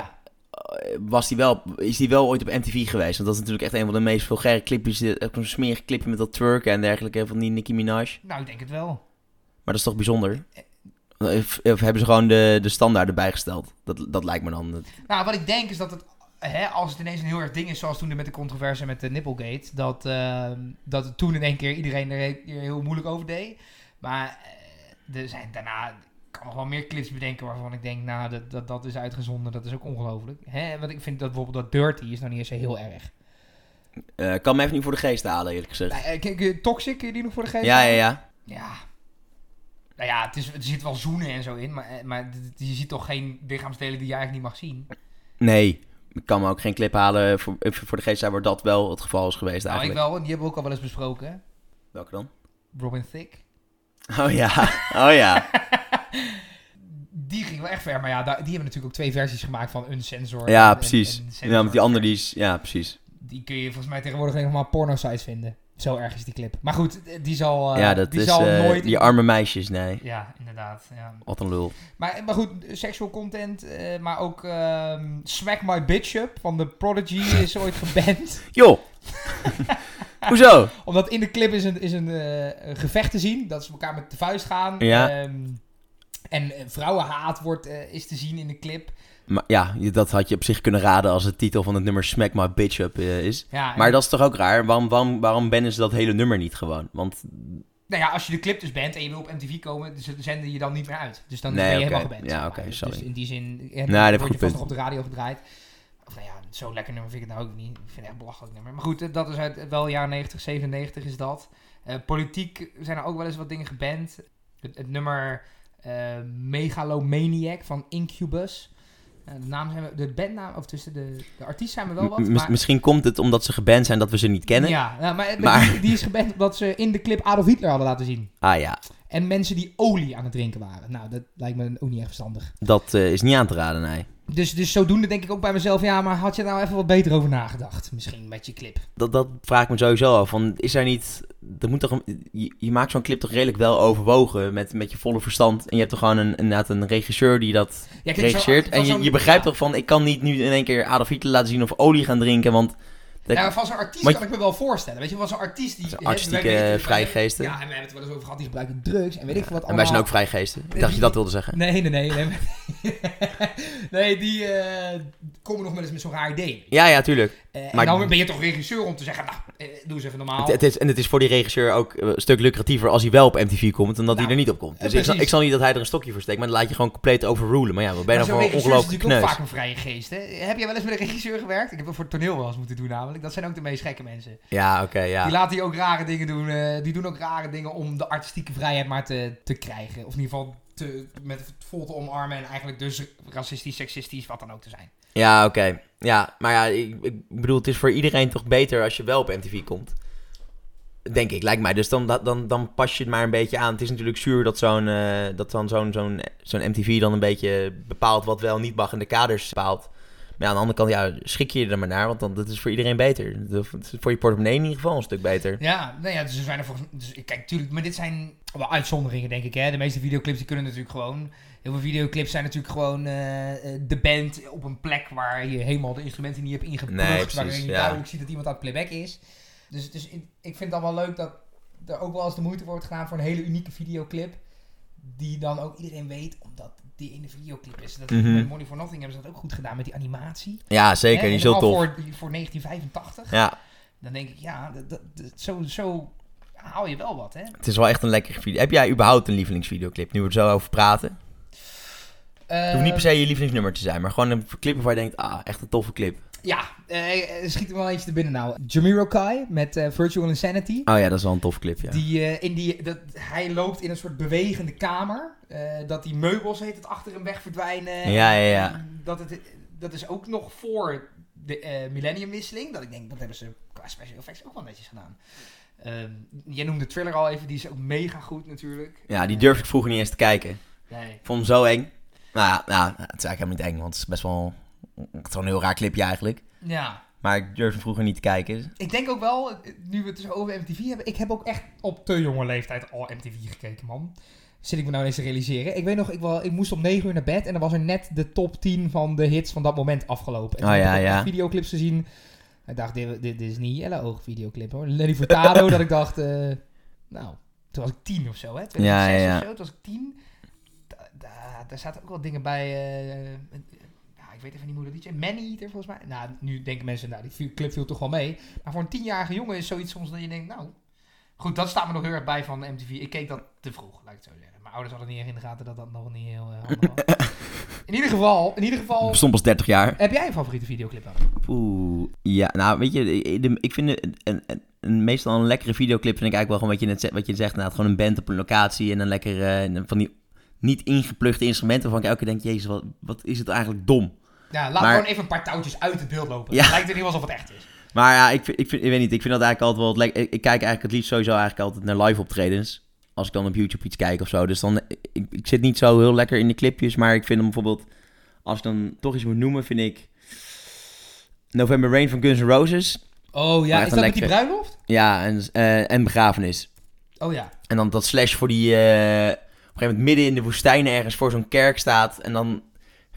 Speaker 1: Eh, Was die wel, is die wel ooit op MTV geweest? Want dat is natuurlijk echt een van de meest vulgaire clipjes. eh, ook Zo'n smerig clipje met dat twerken en dergelijke van die Nicki Minaj. Maar
Speaker 2: nou ik denk het wel.
Speaker 1: dat is toch bijzonder? Of, of hebben ze gewoon de, de standaard erbij gesteld? Dat, dat lijkt me dan. het-
Speaker 2: Nou, wat ik denk is dat het hè, als het ineens een heel erg ding is, zoals toen met de controverse met de Nipplegate, dat, ehm, dat het toen in één keer iedereen er he- er heel moeilijk over deed. Maar eh, er zijn daarna, ik kan nog wel meer clips bedenken waarvan ik denk, nou, dat, dat, dat is uitgezonden, dat is ook ongelooflijk. Hè, Want ik vind dat bijvoorbeeld dat Dirty is nog niet eens zo heel erg.
Speaker 1: Eh, kan me even niet voor de geest halen, eerlijk gezegd.
Speaker 2: Nou, eh, kijk, eh, Toxic, eh, die nog voor de geest?
Speaker 1: Ja, ja, ja.
Speaker 2: Ja. Nou ja, het is, er zit wel zoenen en zo in, maar, eh, maar d- d- je ziet toch geen lichaamsdelen die je eigenlijk niet mag zien.
Speaker 1: Nee, ik kan me ook geen clip halen voor, eh, voor de geest halen waar dat wel het geval is geweest
Speaker 2: Nou, ik
Speaker 1: eigenlijk.
Speaker 2: wel, en die hebben we ook al wel eens besproken. hè.
Speaker 1: Welke dan?
Speaker 2: Robin Thicke.
Speaker 1: Oh ja, oh ja.
Speaker 2: Die ging wel echt ver, maar ja, da- die hebben natuurlijk ook twee versies gemaakt van Uncensor. en-
Speaker 1: Ja,
Speaker 2: en-
Speaker 1: precies.
Speaker 2: Oh, en Censor.
Speaker 1: Ja, met die andere die is... Ja, precies.
Speaker 2: Die kun je volgens mij tegenwoordig alleen nog maar op porno-sites vinden. Zo erg is die clip. Maar goed, eh, die zal, eh,
Speaker 1: ja, dat
Speaker 2: die
Speaker 1: is...
Speaker 2: zal
Speaker 1: eh,
Speaker 2: nooit...
Speaker 1: Die arme meisjes, nee.
Speaker 2: Ja, inderdaad. Ja.
Speaker 1: Wat een lul.
Speaker 2: Maar, maar goed, sexual content, eh, maar ook ehm, Smack My Bitch Up van The Prodigy is ooit geband.
Speaker 1: Joh! Hoezo?
Speaker 2: Omdat in de clip is een, is een, eh, een gevecht te zien. Dat ze elkaar met de vuist gaan.
Speaker 1: Ja.
Speaker 2: Ehm, en eh, vrouwenhaat wordt, eh, is te zien in de clip.
Speaker 1: Maar ja, je- dat had je op zich kunnen raden als de titel van het nummer Smack My Bitch Up eh, is.
Speaker 2: Ja, en-
Speaker 1: Maar dat is toch ook raar? Waarom, waarom, waarom bannen ze dat hele nummer niet gewoon? Want
Speaker 2: Nou ja, als je de clip dus bent en je wil op MTV komen, dus zenden je dan niet meer uit. Dus dan
Speaker 1: Nee,
Speaker 2: ben je
Speaker 1: oké.
Speaker 2: helemaal geband.
Speaker 1: Ja,
Speaker 2: zeg maar.
Speaker 1: oké,
Speaker 2: Dus-
Speaker 1: sorry.
Speaker 2: Dus in die zin
Speaker 1: dat
Speaker 2: eh,
Speaker 1: heb
Speaker 2: word
Speaker 1: ik
Speaker 2: je
Speaker 1: goed
Speaker 2: vast
Speaker 1: punt.
Speaker 2: nog op de radio gedraaid. Of nou ja, zo'n lekker nummer vind ik het nou ook niet. Ik vind het echt een belachelijk nummer. Maar goed, eh, dat is uit eh, wel jaren 90, 97 is dat. Eh, politiek zijn er ook wel eens wat dingen geband. Het, het nummer eh, Megalomaniac van Incubus. Eh, de, naam zijn we, de bandnaam, of tussen de, de artiest zijn we wel wat.
Speaker 1: m- mis-
Speaker 2: maar-
Speaker 1: misschien komt het omdat ze geband zijn dat we ze niet kennen.
Speaker 2: Ja, nou, maar, maar
Speaker 1: Maar-
Speaker 2: Die, die is geband omdat ze in de clip Adolf Hitler hadden laten zien.
Speaker 1: Ah ja,
Speaker 2: En mensen die olie aan het drinken waren. Nou, dat lijkt me ook niet echt verstandig.
Speaker 1: dat eh, is niet aan te raden, nee.
Speaker 2: Dus, dus zodoende denk ik ook bij mezelf, ja, maar had je er nou even wat beter over nagedacht? Misschien met je clip.
Speaker 1: Dat, dat vraag ik me sowieso af. Van, is er niet... Dat moet toch een- je, je maakt zo'n clip toch redelijk wel overwogen met, met je volle verstand. En je hebt toch gewoon een, inderdaad een regisseur die dat
Speaker 2: Ja, kijk, zo-
Speaker 1: regisseert.
Speaker 2: van
Speaker 1: En je,
Speaker 2: zo'n-
Speaker 1: je begrijpt
Speaker 2: ja.
Speaker 1: toch van, ik kan niet nu in één keer Adolf Hitler laten zien of olie gaan drinken, want... dat-
Speaker 2: Ja, maar van zo'n artiest
Speaker 1: Maar-
Speaker 2: kan ik me wel voorstellen. Weet je, van zo'n artiest die...
Speaker 1: Zo'n
Speaker 2: hè,
Speaker 1: artistieke,
Speaker 2: we weten-
Speaker 1: vrije geesten.
Speaker 2: Ja, en we hebben het wel eens over gehad, die gebruiken drugs en weet ik
Speaker 1: en
Speaker 2: veel wat
Speaker 1: wij
Speaker 2: allemaal.
Speaker 1: zijn ook vrijgeesten. Ik dacht dat je dat wilde zeggen.
Speaker 2: Nee, nee, nee. Nee, nee die eh, komen nog wel eens met zo'n raar idee.
Speaker 1: Ja, ja, tuurlijk.
Speaker 2: Eh,
Speaker 1: Maar-
Speaker 2: en dan ben je toch regisseur om te zeggen, nou, eh, doe eens even normaal.
Speaker 1: Het, het is, en het is voor die regisseur ook eh, een stuk lucratiever als hij wel op MTV komt dan dat
Speaker 2: Nou,
Speaker 1: hij er niet op komt.
Speaker 2: eh,
Speaker 1: Dus ik, zal-
Speaker 2: precies.
Speaker 1: ik zal niet dat hij er een stokje voor steekt, maar dan laat je gewoon compleet overrulen. Maar ja, wat ben je nou
Speaker 2: Maar zo'n
Speaker 1: voor een
Speaker 2: regisseur is
Speaker 1: ongelooflijke
Speaker 2: natuurlijk ook
Speaker 1: kneus?
Speaker 2: vaak een vrije geest. Hè? Heb jij wel eens met een regisseur gewerkt? Ik heb dat voor het toneel wel eens moeten doen namelijk. Dat zijn ook de meest gekke mensen.
Speaker 1: Ja, oké, ja.
Speaker 2: Die laten je ook rare dingen doen. eh, die doen ook rare dingen om de artistieke vrijheid maar te, te krijgen. Of in ieder geval te, met het vol te omarmen. En eigenlijk dus racistisch, seksistisch, wat dan ook te zijn.
Speaker 1: Ja, oké. Ja, maar ja, ik, ik bedoel, het is voor iedereen toch beter als je wel op MTV komt. Denk ik, lijkt mij. Dus dan, dan- dan, dan pas je het maar een beetje aan. Het is natuurlijk zuur dat zo'n eh, dat dan zo'n zo'n zo'n MTV dan een beetje bepaalt wat wel niet mag en de kaders bepaalt. Maar ja, aan de andere kant, ja, schik je je er maar naar, want dan, dat is voor iedereen beter. Dat is voor je portemonnee in ieder geval een stuk beter.
Speaker 2: Ja, nou ja, dus er zijn er volgens dus, Kijk, natuurlijk, maar dit zijn wel uitzonderingen, denk ik. Hè? De meeste videoclips die kunnen natuurlijk gewoon. Heel veel videoclips zijn natuurlijk gewoon eh, eh, de band op een plek waar je helemaal de instrumenten niet hebt ingebracht.
Speaker 1: Nee, precies,
Speaker 2: waarin je
Speaker 1: ja.
Speaker 2: duidelijk ziet dat iemand aan het playback is. Dus, dus ik, ik vind dan wel leuk dat er ook wel eens de moeite wordt gedaan voor een hele unieke videoclip. Die dan ook iedereen weet, omdat die in de videoclip is. Dat
Speaker 1: Mhm.
Speaker 2: Met Money for Nothing hebben ze dat ook goed gedaan met die animatie.
Speaker 1: Ja, zeker.
Speaker 2: Hè,
Speaker 1: Die
Speaker 2: en
Speaker 1: is heel
Speaker 2: al
Speaker 1: tof.
Speaker 2: Voor, die- voor 1985.
Speaker 1: Ja,
Speaker 2: Dan denk ik, ja, dat, dat, dat- zo, zo haal je wel wat, hè?
Speaker 1: het is wel echt een lekkere video. Heb jij überhaupt een lievelingsvideoclip? Nu we er zo over praten.
Speaker 2: Eh,
Speaker 1: Het hoeft niet per se je lievelingsnummer te zijn, maar gewoon een clip waar je denkt, ah, echt een toffe clip.
Speaker 2: Ja, eh, er schiet er wel eentje te binnen nou. Jamiroquai met eh, Virtual Insanity.
Speaker 1: Oh ja, dat is wel een tof clip, ja.
Speaker 2: Die, eh, in die, dat, hij loopt in een soort bewegende kamer. eh, dat die meubels heet het achter hem weg verdwijnen.
Speaker 1: Ja, ja, ja.
Speaker 2: Dat, het, dat is ook nog voor de eh, millenniumwisseling. Dat ik denk, dat hebben ze qua special effects ook wel netjes gedaan. Ehm, jij noemde Thriller al even, die is ook mega goed natuurlijk. Eh,
Speaker 1: Ja, die durfde ik vroeger niet eens te kijken. Ik
Speaker 2: Nee.
Speaker 1: vond hem zo eng. Nou ja, nou, het is eigenlijk helemaal niet eng, want het is best wel... Het is wel een heel raar clipje eigenlijk.
Speaker 2: Ja,
Speaker 1: Maar ik durfde hem vroeger niet te kijken.
Speaker 2: Ik denk ook wel, nu we het dus over MTV hebben. Ik heb ook echt op te jonge leeftijd al MTV gekeken, man. Zit ik me nou eens te realiseren. Ik weet nog, ik, wel, ik moest om 9 uur naar bed. En dan was er net de top 10 van de hits van dat moment afgelopen. En
Speaker 1: Oh,
Speaker 2: toen
Speaker 1: ja,
Speaker 2: heb ik ook
Speaker 1: ja.
Speaker 2: echt videoclips gezien. Ik dacht, dit, dit, dit is niet Jelle Oog videoclip hoor. Lenny Furtado, dat ik dacht, eh, nou, toen was ik 10 of zo, hè? 2006
Speaker 1: ja, ja.
Speaker 2: of zo, toen was ik 10. Da- da- Daar zaten ook wel dingen bij. eh, eh, ja, ik weet even niet hoe dat liedje... Maneater volgens mij. Nou, nu denken mensen, nou, die viel- clip viel toch wel mee. Maar voor een tienjarige jongen is zoiets soms dat je denkt, nou... Goed, dat staat me nog heel erg bij van MTV. Ik keek dat te vroeg, laat ik het zo zeggen. Mijn ouders hadden niet erg in de gaten dat dat nog niet heel eh, handig was. In ieder geval, in ieder geval...
Speaker 1: Bestond pas 30 jaar.
Speaker 2: Heb jij een favoriete videoclip dan?
Speaker 1: Oeh. Ja, nou weet je, de- de- ik vind een, een, een- een- meestal een lekkere videoclip vind ik eigenlijk wel gewoon wat je net zegt, wat je zegt nou, gewoon een band op een locatie en dan lekker eh, en dan van die niet ingeplugde instrumenten waarvan ik elke keer denk, jezus, wat, wat is het eigenlijk dom.
Speaker 2: Ja, laat
Speaker 1: Maar-
Speaker 2: gewoon even een paar touwtjes uit het beeld lopen.
Speaker 1: Ja.
Speaker 2: Het lijkt er niet alsof het echt is.
Speaker 1: Maar ja, ik, vind- ik, vind, ik weet niet, ik vind dat eigenlijk altijd wel het lekker. Ik, ik kijk eigenlijk het liefst sowieso eigenlijk altijd naar live optredens. Als ik dan op YouTube iets kijk of zo. Dus dan, ik, ik zit niet zo heel lekker in de clipjes, maar ik vind hem bijvoorbeeld, als ik dan toch iets moet noemen, vind ik November Rain van Guns N' Roses.
Speaker 2: Oh ja,
Speaker 1: Maar
Speaker 2: is
Speaker 1: even
Speaker 2: dat met die
Speaker 1: lekker.
Speaker 2: bruiloft?
Speaker 1: Ja, en, eh, en Begrafenis.
Speaker 2: Oh ja.
Speaker 1: En dan dat slash voor die. eh, op een gegeven moment midden in de woestijn ergens voor zo'n kerk staat. En dan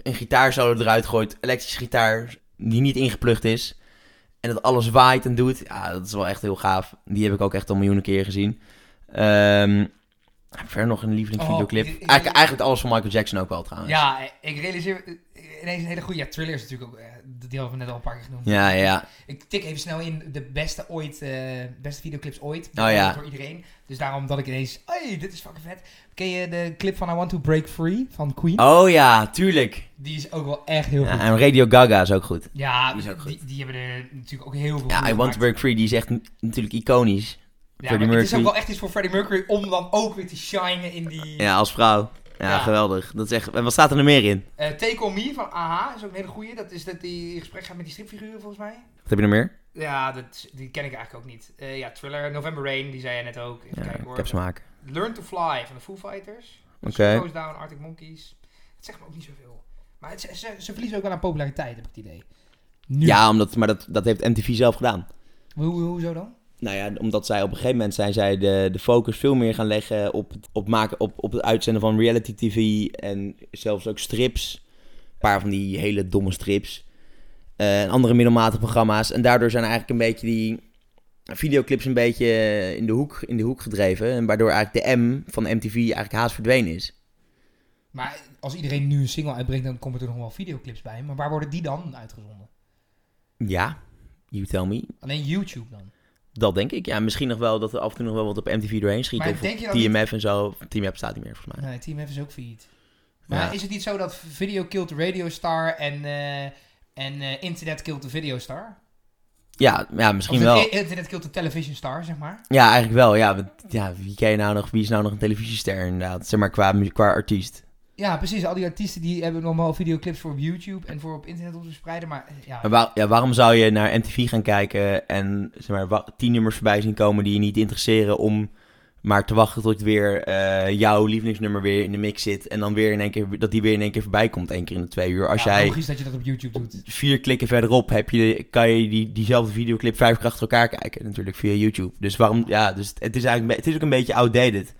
Speaker 1: een gitaarsolo eruit gooit. Elektrische gitaar die niet ingeplucht is. En dat alles waait en doet. Ja, dat is wel echt heel gaaf. Die heb ik ook echt al miljoenen keer gezien. Ehm verder nog een lievelingsvideoclip.
Speaker 2: Oh, ik- ik-
Speaker 1: Eigen- eigenlijk alles van Michael Jackson ook wel trouwens.
Speaker 2: Ja, ik realiseer eh, ineens een hele goede... Ja, Thriller is natuurlijk ook... eh, Die hadden we net al een paar keer genoemd.
Speaker 1: Ja, ja.
Speaker 2: Ik tik even snel in de beste ooit, eh, beste videoclips ooit.
Speaker 1: Oh ja.
Speaker 2: Door iedereen. Dus daarom dat ik ineens, hey, dit is fucking vet. Ken je de clip van I Want To Break Free van Queen?
Speaker 1: Oh ja, tuurlijk.
Speaker 2: Die is ook wel echt heel
Speaker 1: Ja,
Speaker 2: goed.
Speaker 1: en Radio Gaga is ook goed.
Speaker 2: Ja,
Speaker 1: die
Speaker 2: die,
Speaker 1: is ook
Speaker 2: Die, hebben er natuurlijk ook heel veel
Speaker 1: Ja,
Speaker 2: goede
Speaker 1: I Want to
Speaker 2: gemaakt.
Speaker 1: Break Free, die is echt n- natuurlijk iconisch.
Speaker 2: Ja,
Speaker 1: Freddie
Speaker 2: maar het is ook
Speaker 1: Mercury.
Speaker 2: wel echt iets voor Freddie Mercury om dan ook weer te shinen in die...
Speaker 1: Ja, als vrouw. Ja,
Speaker 2: Ja.
Speaker 1: geweldig. Dat is echt... En wat staat er nog meer in?
Speaker 2: Eh, Take On Me van AH is ook een hele goeie. Dat is dat die in gesprek gaat met die stripfiguren volgens mij.
Speaker 1: Wat heb je nog meer?
Speaker 2: Ja, dat, die ken ik eigenlijk ook niet. Eh, ja, Thriller, November Rain, die zei jij net ook. Even
Speaker 1: Ja,
Speaker 2: kijken
Speaker 1: ik
Speaker 2: hoor.
Speaker 1: heb smaak.
Speaker 2: Learn to Fly van de Foo Fighters.
Speaker 1: Oké.
Speaker 2: Goes Down, Arctic Monkeys. Het zegt me ook niet zoveel. Maar het, ze, ze, ze verliezen ook wel aan populariteit, heb ik het idee. Nu.
Speaker 1: Ja, omdat, maar dat, dat heeft MTV zelf gedaan.
Speaker 2: Hoe, hoe- hoezo dan?
Speaker 1: Nou ja, omdat zij op een gegeven moment zijn zij de, de focus veel meer gaan leggen op, het- op, maken, op, op het uitzenden van reality tv en zelfs ook strips. Een paar van die hele domme strips. Eh, en andere middelmatige programma's. En daardoor zijn eigenlijk een beetje die videoclips een beetje eh, in de hoek, in de hoek gedreven. En waardoor eigenlijk de M van MTV eigenlijk haast verdwenen is.
Speaker 2: Maar als iedereen nu een single uitbrengt, dan komen er nog wel videoclips bij. Maar waar worden die dan uitgezonden?
Speaker 1: Ja, you tell me.
Speaker 2: Alleen YouTube dan.
Speaker 1: Dat denk ik. Ja, misschien nog wel dat er af en toe nog wel wat op MTV doorheen schiet.
Speaker 2: Maar
Speaker 1: of
Speaker 2: denk je
Speaker 1: op
Speaker 2: dat
Speaker 1: TMF en zo. TMF bestaat niet meer volgens mij.
Speaker 2: Nee, Team F is ook failliet. Maar
Speaker 1: Ja.
Speaker 2: is het niet zo dat Video Killed the Radio Star en, eh, en eh, Internet Killed the Video Star?
Speaker 1: Ja, ja
Speaker 2: Of
Speaker 1: misschien
Speaker 2: de-
Speaker 1: wel.
Speaker 2: i- Internet Killed the Television Star, zeg maar.
Speaker 1: Ja, eigenlijk wel. Ja, want- ja, wie, ken je nou nog, wie is nou nog een televisiester inderdaad? Zeg maar qua, mu- qua artiest.
Speaker 2: Ja, precies. Al die artiesten die hebben normaal videoclips voor op YouTube en voor op internet om te verspreiden. Maar eh, ja,
Speaker 1: Maar waar- ja, waarom zou je naar MTV gaan kijken en zeg maar, wa- tien nummers voorbij zien komen die je niet interesseren om maar te wachten tot weer eh, jouw lievelingsnummer weer in de mix zit en dan weer in één keer, dat die weer in één keer voorbij komt, één keer in de twee uur. Als
Speaker 2: ja,
Speaker 1: jij
Speaker 2: logisch dat je dat op YouTube doet.
Speaker 1: vier klikken verderop heb je, kan je die, diezelfde videoclip vijf keer achter elkaar kijken. Natuurlijk via YouTube. Dus waarom, ja, dus het is eigenlijk, be- het is ook een beetje outdated.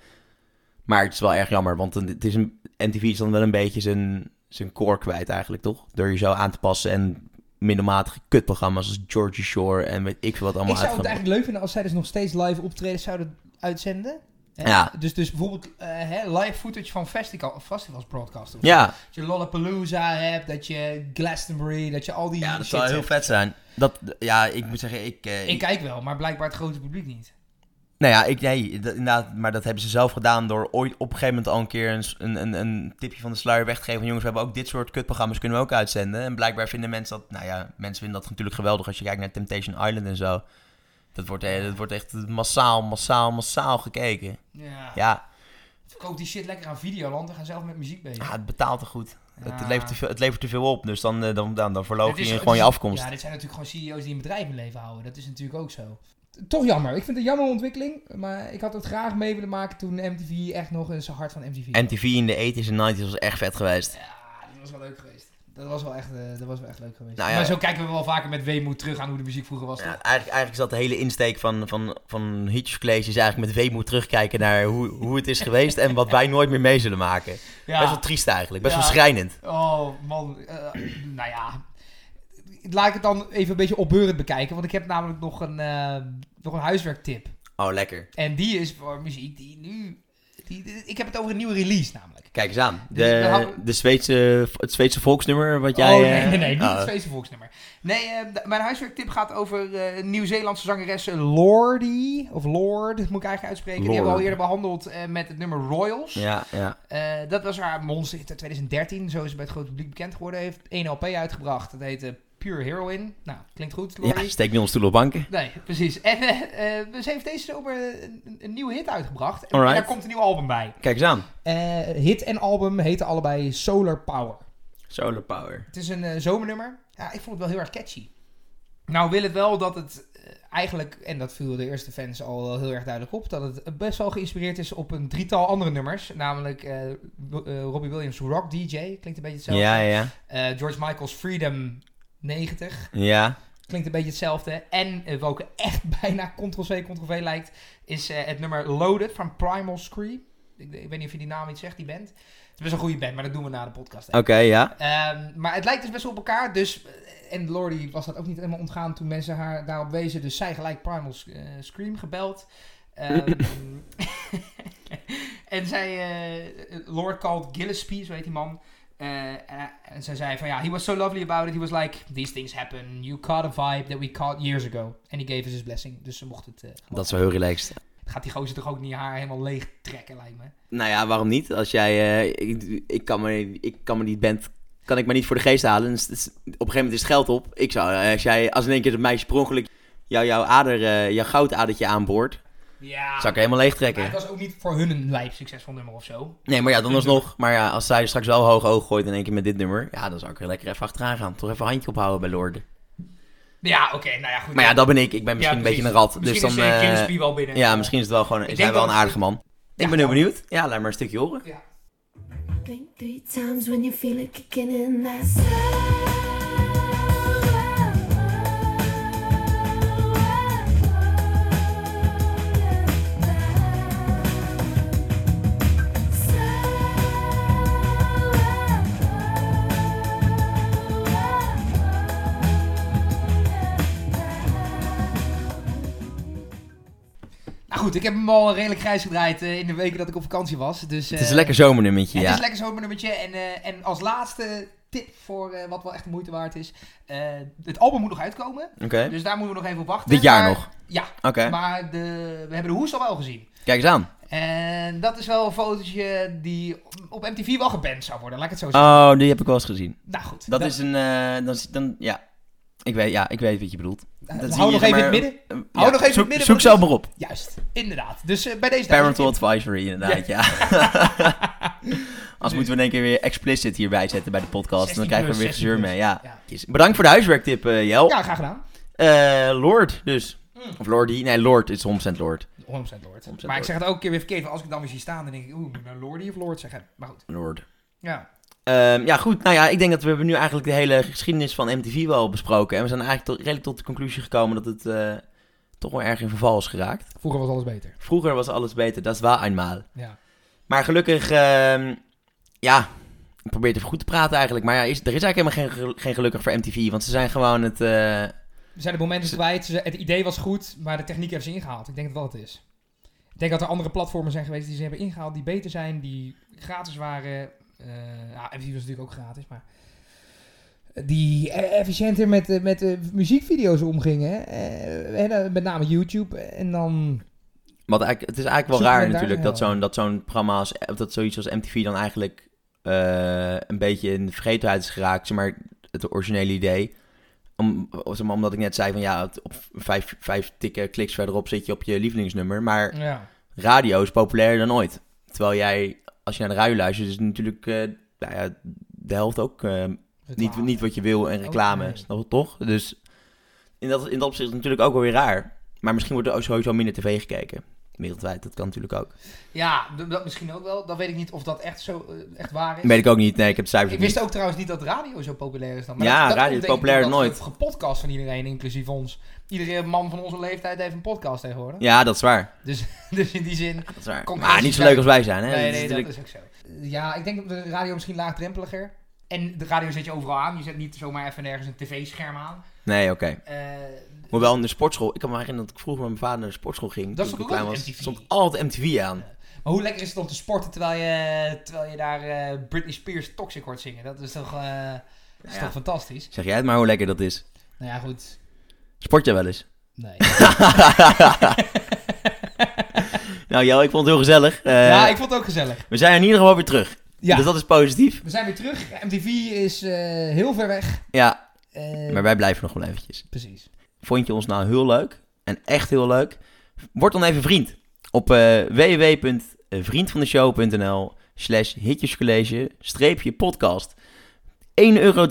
Speaker 1: Maar het is wel erg jammer, want een- het is een, MTV is dan wel een beetje zijn, zijn core kwijt eigenlijk, toch? Door je zo aan te passen en middelmatige kutprogramma's als Georgie Shore en weet ik veel wat allemaal
Speaker 2: Ik zou
Speaker 1: uit
Speaker 2: het
Speaker 1: gaan-
Speaker 2: eigenlijk leuk vinden als zij dus nog steeds live optredens zouden uitzenden. Hè?
Speaker 1: Ja.
Speaker 2: Dus, dus bijvoorbeeld eh, hè, live footage van festival, festivals broadcasten.
Speaker 1: Ja,
Speaker 2: Dat je Lollapalooza hebt, dat je Glastonbury, dat je al die
Speaker 1: ja, dat
Speaker 2: shit
Speaker 1: zou heel
Speaker 2: hebt.
Speaker 1: vet zijn. Dat, ja, ik moet zeggen, ik... eh,
Speaker 2: Ik kijk wel, maar blijkbaar het grote publiek niet.
Speaker 1: Nou ja, ik, nee, dat, inderdaad, maar dat hebben ze zelf gedaan door ooit op een gegeven moment al een keer een, s- een, een, een tipje van de sluier weg te geven. Van, jongens, we hebben ook dit soort kutprogramma's kunnen we ook uitzenden. En blijkbaar vinden mensen dat, nou ja, mensen vinden dat natuurlijk geweldig als je kijkt naar Temptation Island en zo. Dat wordt, eh, dat wordt echt massaal, massaal, massaal gekeken.
Speaker 2: Ja.
Speaker 1: Ja,
Speaker 2: Verkoop die shit lekker aan Videoland en ga zelf met muziek bezig.
Speaker 1: ja, het betaalt te goed. Het,
Speaker 2: Ja.
Speaker 1: levert te veel, het levert te veel op, dus dan, eh, dan, dan, dan verloog
Speaker 2: Dit is-
Speaker 1: je
Speaker 2: het
Speaker 1: gewoon
Speaker 2: is-
Speaker 1: je afkomst.
Speaker 2: Ja, dit zijn natuurlijk gewoon CEO's die een bedrijf in leven houden. Dat is natuurlijk ook zo. Toch jammer. Ik vind het een jammer ontwikkeling. Maar ik had het graag mee willen maken toen MTV echt nog eens hart van MTV was.
Speaker 1: MTV in de 80s en 90s was echt vet geweest.
Speaker 2: Ja, dat was wel leuk geweest. Dat was wel echt, eh, dat was wel echt leuk geweest.
Speaker 1: Nou ja.
Speaker 2: Maar zo kijken we wel vaker met weemoed terug aan hoe de muziek vroeger was.
Speaker 1: Ja,
Speaker 2: toch?
Speaker 1: eigenlijk, eigenlijk is dat de hele insteek van, van, van Hitchcock College is eigenlijk met weemoed terugkijken naar hoe, hoe het is geweest en wat wij nooit meer mee zullen maken. Best wel triest eigenlijk, best wel
Speaker 2: Ja.
Speaker 1: schrijnend.
Speaker 2: Oh man, eh, nou ja. Laat ik het dan even een beetje opbeurend bekijken. Want ik heb namelijk nog een, eh, nog een huiswerktip.
Speaker 1: Oh, lekker.
Speaker 2: En die is voor muziek die nu Die, ik heb het over een nieuwe release namelijk.
Speaker 1: Kijk eens aan.
Speaker 2: Dus we
Speaker 1: De,
Speaker 2: houden-
Speaker 1: de Zweedse, het Zweedse volksnummer wat jij...
Speaker 2: oh, nee,
Speaker 1: eh,
Speaker 2: nee, nee, niet
Speaker 1: ah,
Speaker 2: het Zweedse volksnummer. Nee, eh, d- mijn huiswerktip gaat over eh, nieuw-Zeelandse zangeres Lordy, of Lord, moet ik eigenlijk uitspreken. Die hebben we
Speaker 1: Lorde.
Speaker 2: al eerder behandeld eh, met het nummer Royals.
Speaker 1: Ja, ja.
Speaker 2: Eh, dat was haar monster in 2013. Zo is ze bij het grote publiek bekend geworden. Heeft één LP uitgebracht. Dat heette Pure Heroin. Nou, klinkt goed, Lordy.
Speaker 1: ja, steek niet ons stoelen op banken.
Speaker 2: Nee, precies. En eh, eh, ze heeft deze zomer een, een- een nieuwe hit uitgebracht. En,
Speaker 1: Alright.
Speaker 2: daar komt een nieuw album bij.
Speaker 1: Kijk eens aan.
Speaker 2: Eh, hit en album heten allebei Solar Power.
Speaker 1: Solar power.
Speaker 2: Het is een eh, zomernummer. Ja, ik vond het wel heel erg catchy. Nou wil het wel dat het eh, eigenlijk, en dat viel de eerste fans al wel heel erg duidelijk op, dat het best wel geïnspireerd is op een drietal andere nummers. Namelijk eh, Ro- eh, Robbie Williams Rock DJ, klinkt een beetje hetzelfde.
Speaker 1: Ja, ja.
Speaker 2: Eh, George Michael's Freedom 90,
Speaker 1: Ja.
Speaker 2: klinkt een beetje hetzelfde. En eh, welke echt bijna Ctrl-C, Ctrl-V lijkt, is eh, het nummer Loaded van Primal Scream. Ik, ik weet niet of je die naam iets zegt, die band. Het is best een goede band, maar dat doen we na de podcast.
Speaker 1: Oké, ja.
Speaker 2: Ehm, maar het lijkt dus best wel op elkaar. Dus, eh, en Lordy was dat ook niet helemaal ontgaan toen mensen haar daarop wezen. Dus zij gelijk Primal S- eh, Scream gebeld. Ehm, en zij, eh, Lord called Gillespie, zo heet die man. Eh, en, hij- en zij zei van ja, he was so lovely about it. He was like, these things happen. You caught a vibe that we caught years ago. En he gave us his blessing. Dus ze mocht het. eh,
Speaker 1: Dat is wel heel relaxed.
Speaker 2: Gaat die gozer toch ook niet haar helemaal leeg trekken, lijkt me.
Speaker 1: Nou ja, waarom niet? Als jij... eh, ik, ik, kan me, ik kan me die band... Kan ik maar niet voor de geest halen. Dus het is- op een gegeven moment is het geld op. Ik zou... eh, Als, jij, als in één keer dat meisje per ongeluk jou, jouw ader... eh, jouw goudadertje aanboort...
Speaker 2: Ja.
Speaker 1: Zou ik helemaal leeg
Speaker 2: Maar het
Speaker 1: trekken.
Speaker 2: was ook niet voor hun een lijf succesvol nummer of zo.
Speaker 1: Nee, maar ja, dan alsnog. Maar ja, als zij er straks wel hoog oog gooit in één keer met dit nummer... Ja, dan zou ik er lekker even achteraan gaan. Toch even een handje ophouden bij Lorde.
Speaker 2: Ja, oké, nou ja, goed.
Speaker 1: Maar ja, dat ben ik. Ik ben misschien
Speaker 2: Ja,
Speaker 1: een beetje een
Speaker 2: precies.
Speaker 1: rat.
Speaker 2: Misschien
Speaker 1: dus
Speaker 2: is
Speaker 1: dan, eh,
Speaker 2: eh, Gillespie wel binnen.
Speaker 1: Ja, misschien is het wel gewoon... Is hij
Speaker 2: denk
Speaker 1: wel
Speaker 2: dat-
Speaker 1: een aardige man. Ik ben heel benieuwd. Ja, laat maar een stukje horen.
Speaker 2: Ja.
Speaker 5: Blink three times when you feel it kicking in. That's
Speaker 2: Nou goed, ik heb hem al redelijk grijs gedraaid eh, in de weken dat ik op vakantie was. Dus,
Speaker 1: Het is een lekker zomernummertje,
Speaker 2: Het
Speaker 1: ja.
Speaker 2: is lekker zo'n nummertje. En, eh, en als laatste tip voor eh, wat wel echt de moeite waard is. eh, het album moet nog uitkomen.
Speaker 1: Oké.
Speaker 2: Dus daar moeten we nog even op wachten.
Speaker 1: Dit jaar
Speaker 2: Maar-
Speaker 1: nog?
Speaker 2: Ja,
Speaker 1: Oké,
Speaker 2: maar de, we hebben de hoes al wel gezien.
Speaker 1: kijk eens aan.
Speaker 2: En dat is wel een fotootje die op MTV wel geband zou worden, laat ik het zo zeggen.
Speaker 1: Oh, die heb ik wel eens gezien.
Speaker 2: nou goed.
Speaker 1: Dat is een... eh, dan, is- dan, ja. Ik weet, ja, ik weet wat je bedoelt. Dat zie
Speaker 2: Eh, hou
Speaker 1: je,
Speaker 2: nog even in het
Speaker 1: maar-
Speaker 2: midden.
Speaker 1: Eh, ja,
Speaker 2: Hou nog even in het
Speaker 1: zoek,
Speaker 2: midden,
Speaker 1: Zoek
Speaker 2: want
Speaker 1: zelf
Speaker 2: het
Speaker 1: maar op.
Speaker 2: Juist, inderdaad. Dus eh, bij deze
Speaker 1: Parental
Speaker 2: dames-
Speaker 1: advisory, inderdaad, ja.
Speaker 2: Dus-
Speaker 1: Als moeten we in één keer weer explicit hierbij zetten bij de podcast. Dan
Speaker 2: 16
Speaker 1: krijgen we
Speaker 2: plus,
Speaker 1: weer gezeur
Speaker 2: 16
Speaker 1: mee, ja.
Speaker 2: Ja.
Speaker 1: Bedankt voor de huiswerktip, eh, Jel.
Speaker 2: Ja, Hmm. graag gedaan.
Speaker 1: Eh, Lord, dus. Of Lordy. Nee, Lord is 100% Lord.
Speaker 2: 100% Lord. maar
Speaker 1: Lord.
Speaker 2: ik zeg het ook een keer weer verkeerd, want als ik dan weer zie staan, dan denk ik, oeh, moet ik nou Lordy of Lord zeggen? Maar goed,
Speaker 1: Lord.
Speaker 2: ja.
Speaker 1: Ehm, ja, goed. Nou ja, ik denk dat we hebben nu eigenlijk de hele geschiedenis van MTV wel besproken. En we zijn eigenlijk tot, redelijk tot de conclusie gekomen dat het eh, toch wel erg in verval is geraakt.
Speaker 2: Vroeger was alles beter.
Speaker 1: Vroeger was alles beter, dat is waar eenmaal.
Speaker 2: Ja.
Speaker 1: Maar gelukkig, ehm, ja, ik probeer het even goed te praten eigenlijk. Maar ja, is, er is eigenlijk helemaal geen, gel- geen gelukkig voor MTV, want ze zijn gewoon het... eh,
Speaker 2: Er zijn de momenten kwijt, ze- het idee was goed, maar de techniek hebben ze ingehaald. Ik denk dat dat het is. Ik denk dat er andere platformen zijn geweest die ze hebben ingehaald, die beter zijn, die gratis waren. Eh ja, MTV was natuurlijk ook gratis, maar... Die e- efficiënter met, eh, met eh, muziekvideo's omgingen. eh, en, eh, met name YouTube. En dan
Speaker 1: wat eigenlijk, het is eigenlijk
Speaker 2: Zoek
Speaker 1: wel raar
Speaker 2: men daar
Speaker 1: natuurlijk dat
Speaker 2: wel.
Speaker 1: zo'n, dat zo'n programma, als, of dat zoiets als MTV dan eigenlijk eh, een beetje in de vergetenheid is geraakt. Zeg maar het originele idee. Om, zeg maar, omdat ik net zei van ja, het- op vijf, vijf tikken kliks verderop zit je op je lievelingsnummer. Maar
Speaker 2: ja.
Speaker 1: radio is populairder dan ooit. Terwijl jij, als je naar de radio luistert, is het natuurlijk eh, nou ja, de helft ook eh, niet, niet wat je wil en reclame.
Speaker 2: nee.
Speaker 1: Snap je toch? Dus in dat, in dat opzicht is het natuurlijk ook wel weer raar. Maar misschien wordt er ook sowieso minder tv gekeken. Wereldwijd, dat kan natuurlijk ook.
Speaker 2: Ja, d- dat misschien ook wel. Dan weet ik niet of dat echt zo eh, echt waar is.
Speaker 1: Weet ik ook niet. Nee, ik heb de cijfers
Speaker 2: Ik
Speaker 1: ook
Speaker 2: wist
Speaker 1: niet.
Speaker 2: ook trouwens niet dat radio zo populair is dan.
Speaker 1: Ja,
Speaker 2: dat, dat
Speaker 1: radio
Speaker 2: komt
Speaker 1: is
Speaker 2: denk ik
Speaker 1: populairder
Speaker 2: doordat
Speaker 1: nooit.
Speaker 2: Het gepodcast van iedereen, inclusief ons. Iedere man van onze leeftijd heeft een podcast tegenwoordig.
Speaker 1: Ja, dat is waar.
Speaker 2: Dus in die zin...
Speaker 1: Dat is waar.
Speaker 2: Komt
Speaker 1: maar
Speaker 2: er
Speaker 1: niet zo
Speaker 2: eens
Speaker 1: leuk als wij zijn, hè?
Speaker 2: Nee,
Speaker 1: Dat
Speaker 2: nee,
Speaker 1: is
Speaker 2: dat
Speaker 1: natuurlijk-
Speaker 2: is ook zo. Ja, ik denk dat de radio misschien laagdrempeliger. En de radio zet je overal aan. Je zet niet zomaar even nergens een tv-scherm aan.
Speaker 1: Nee, oké.
Speaker 2: Eh,
Speaker 1: Maar wel in de sportschool. Ik kan me herinneren dat ik vroeger met mijn vader naar de sportschool ging.
Speaker 2: Dat
Speaker 1: toen
Speaker 2: stond
Speaker 1: ik
Speaker 2: ook
Speaker 1: klein was.
Speaker 2: altijd MTV.
Speaker 1: stond altijd MTV aan.
Speaker 2: Maar hoe lekker is het om te sporten terwijl je, terwijl je daar eh, Britney Spears Toxic hoort zingen? Dat is toch, eh, dat is
Speaker 1: Ja.
Speaker 2: toch fantastisch?
Speaker 1: Zeg jij het maar hoe lekker dat is.
Speaker 2: Nou ja, goed.
Speaker 1: Sport jij wel eens?
Speaker 2: Nee.
Speaker 1: Nou, Jel, ik vond het heel gezellig. Eh,
Speaker 2: ja, ik vond het ook gezellig.
Speaker 1: We zijn in ieder geval weer terug.
Speaker 2: Ja.
Speaker 1: Dus dat is positief.
Speaker 2: We zijn weer terug. MTV is eh, heel ver weg.
Speaker 1: Ja,
Speaker 2: Eh,
Speaker 1: maar wij blijven nog wel eventjes.
Speaker 2: Precies.
Speaker 1: Vond je ons nou heel leuk? En echt heel leuk? Word dan even vriend. Op eh www.vriendvandeshow.nl slash hitjescollege streepje podcast. 1,83 euro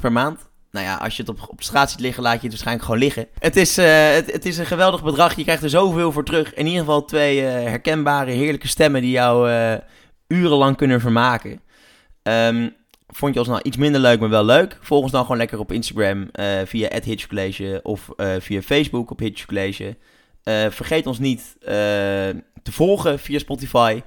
Speaker 1: per maand. Nou ja, als je het op, op straat ziet liggen, laat je het waarschijnlijk gewoon liggen. Het is, eh, het, het is een geweldig bedrag. Je krijgt er zoveel voor terug. In ieder geval twee eh, herkenbare, heerlijke stemmen die jou eh, urenlang kunnen vermaken. Ehm, vond je ons nou iets minder leuk, maar wel leuk? Volg ons dan gewoon lekker op Instagram eh, via het Hitch College of eh, via Facebook op Hitch College. Eh, vergeet ons niet eh, te volgen via Spotify.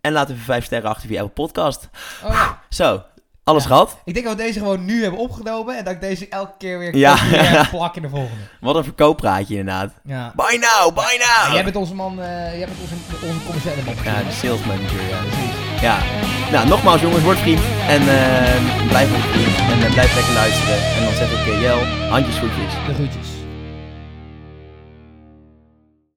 Speaker 1: En laat even vijf sterren achter via Apple Podcast.
Speaker 2: Oh, ja.
Speaker 1: Zo, alles
Speaker 2: Ja.
Speaker 1: gehad?
Speaker 2: Ik denk dat we deze gewoon nu hebben opgenomen en dat ik deze elke keer weer
Speaker 1: Ja.
Speaker 2: kopieer en plak in de volgende.
Speaker 1: Wat een verkooppraatje inderdaad.
Speaker 2: Ja.
Speaker 1: Buy now, buy now!
Speaker 2: Jij bent onze man, eh, jij bent onze, onze commerciële man.
Speaker 1: Ja, de sales manager, ja. Ja. Nou, nogmaals jongens, word vriend. En eh, blijf ons vriend. En eh, blijf lekker luisteren. En dan zet ik eh, Jel handjes voetjes.
Speaker 2: De groetjes.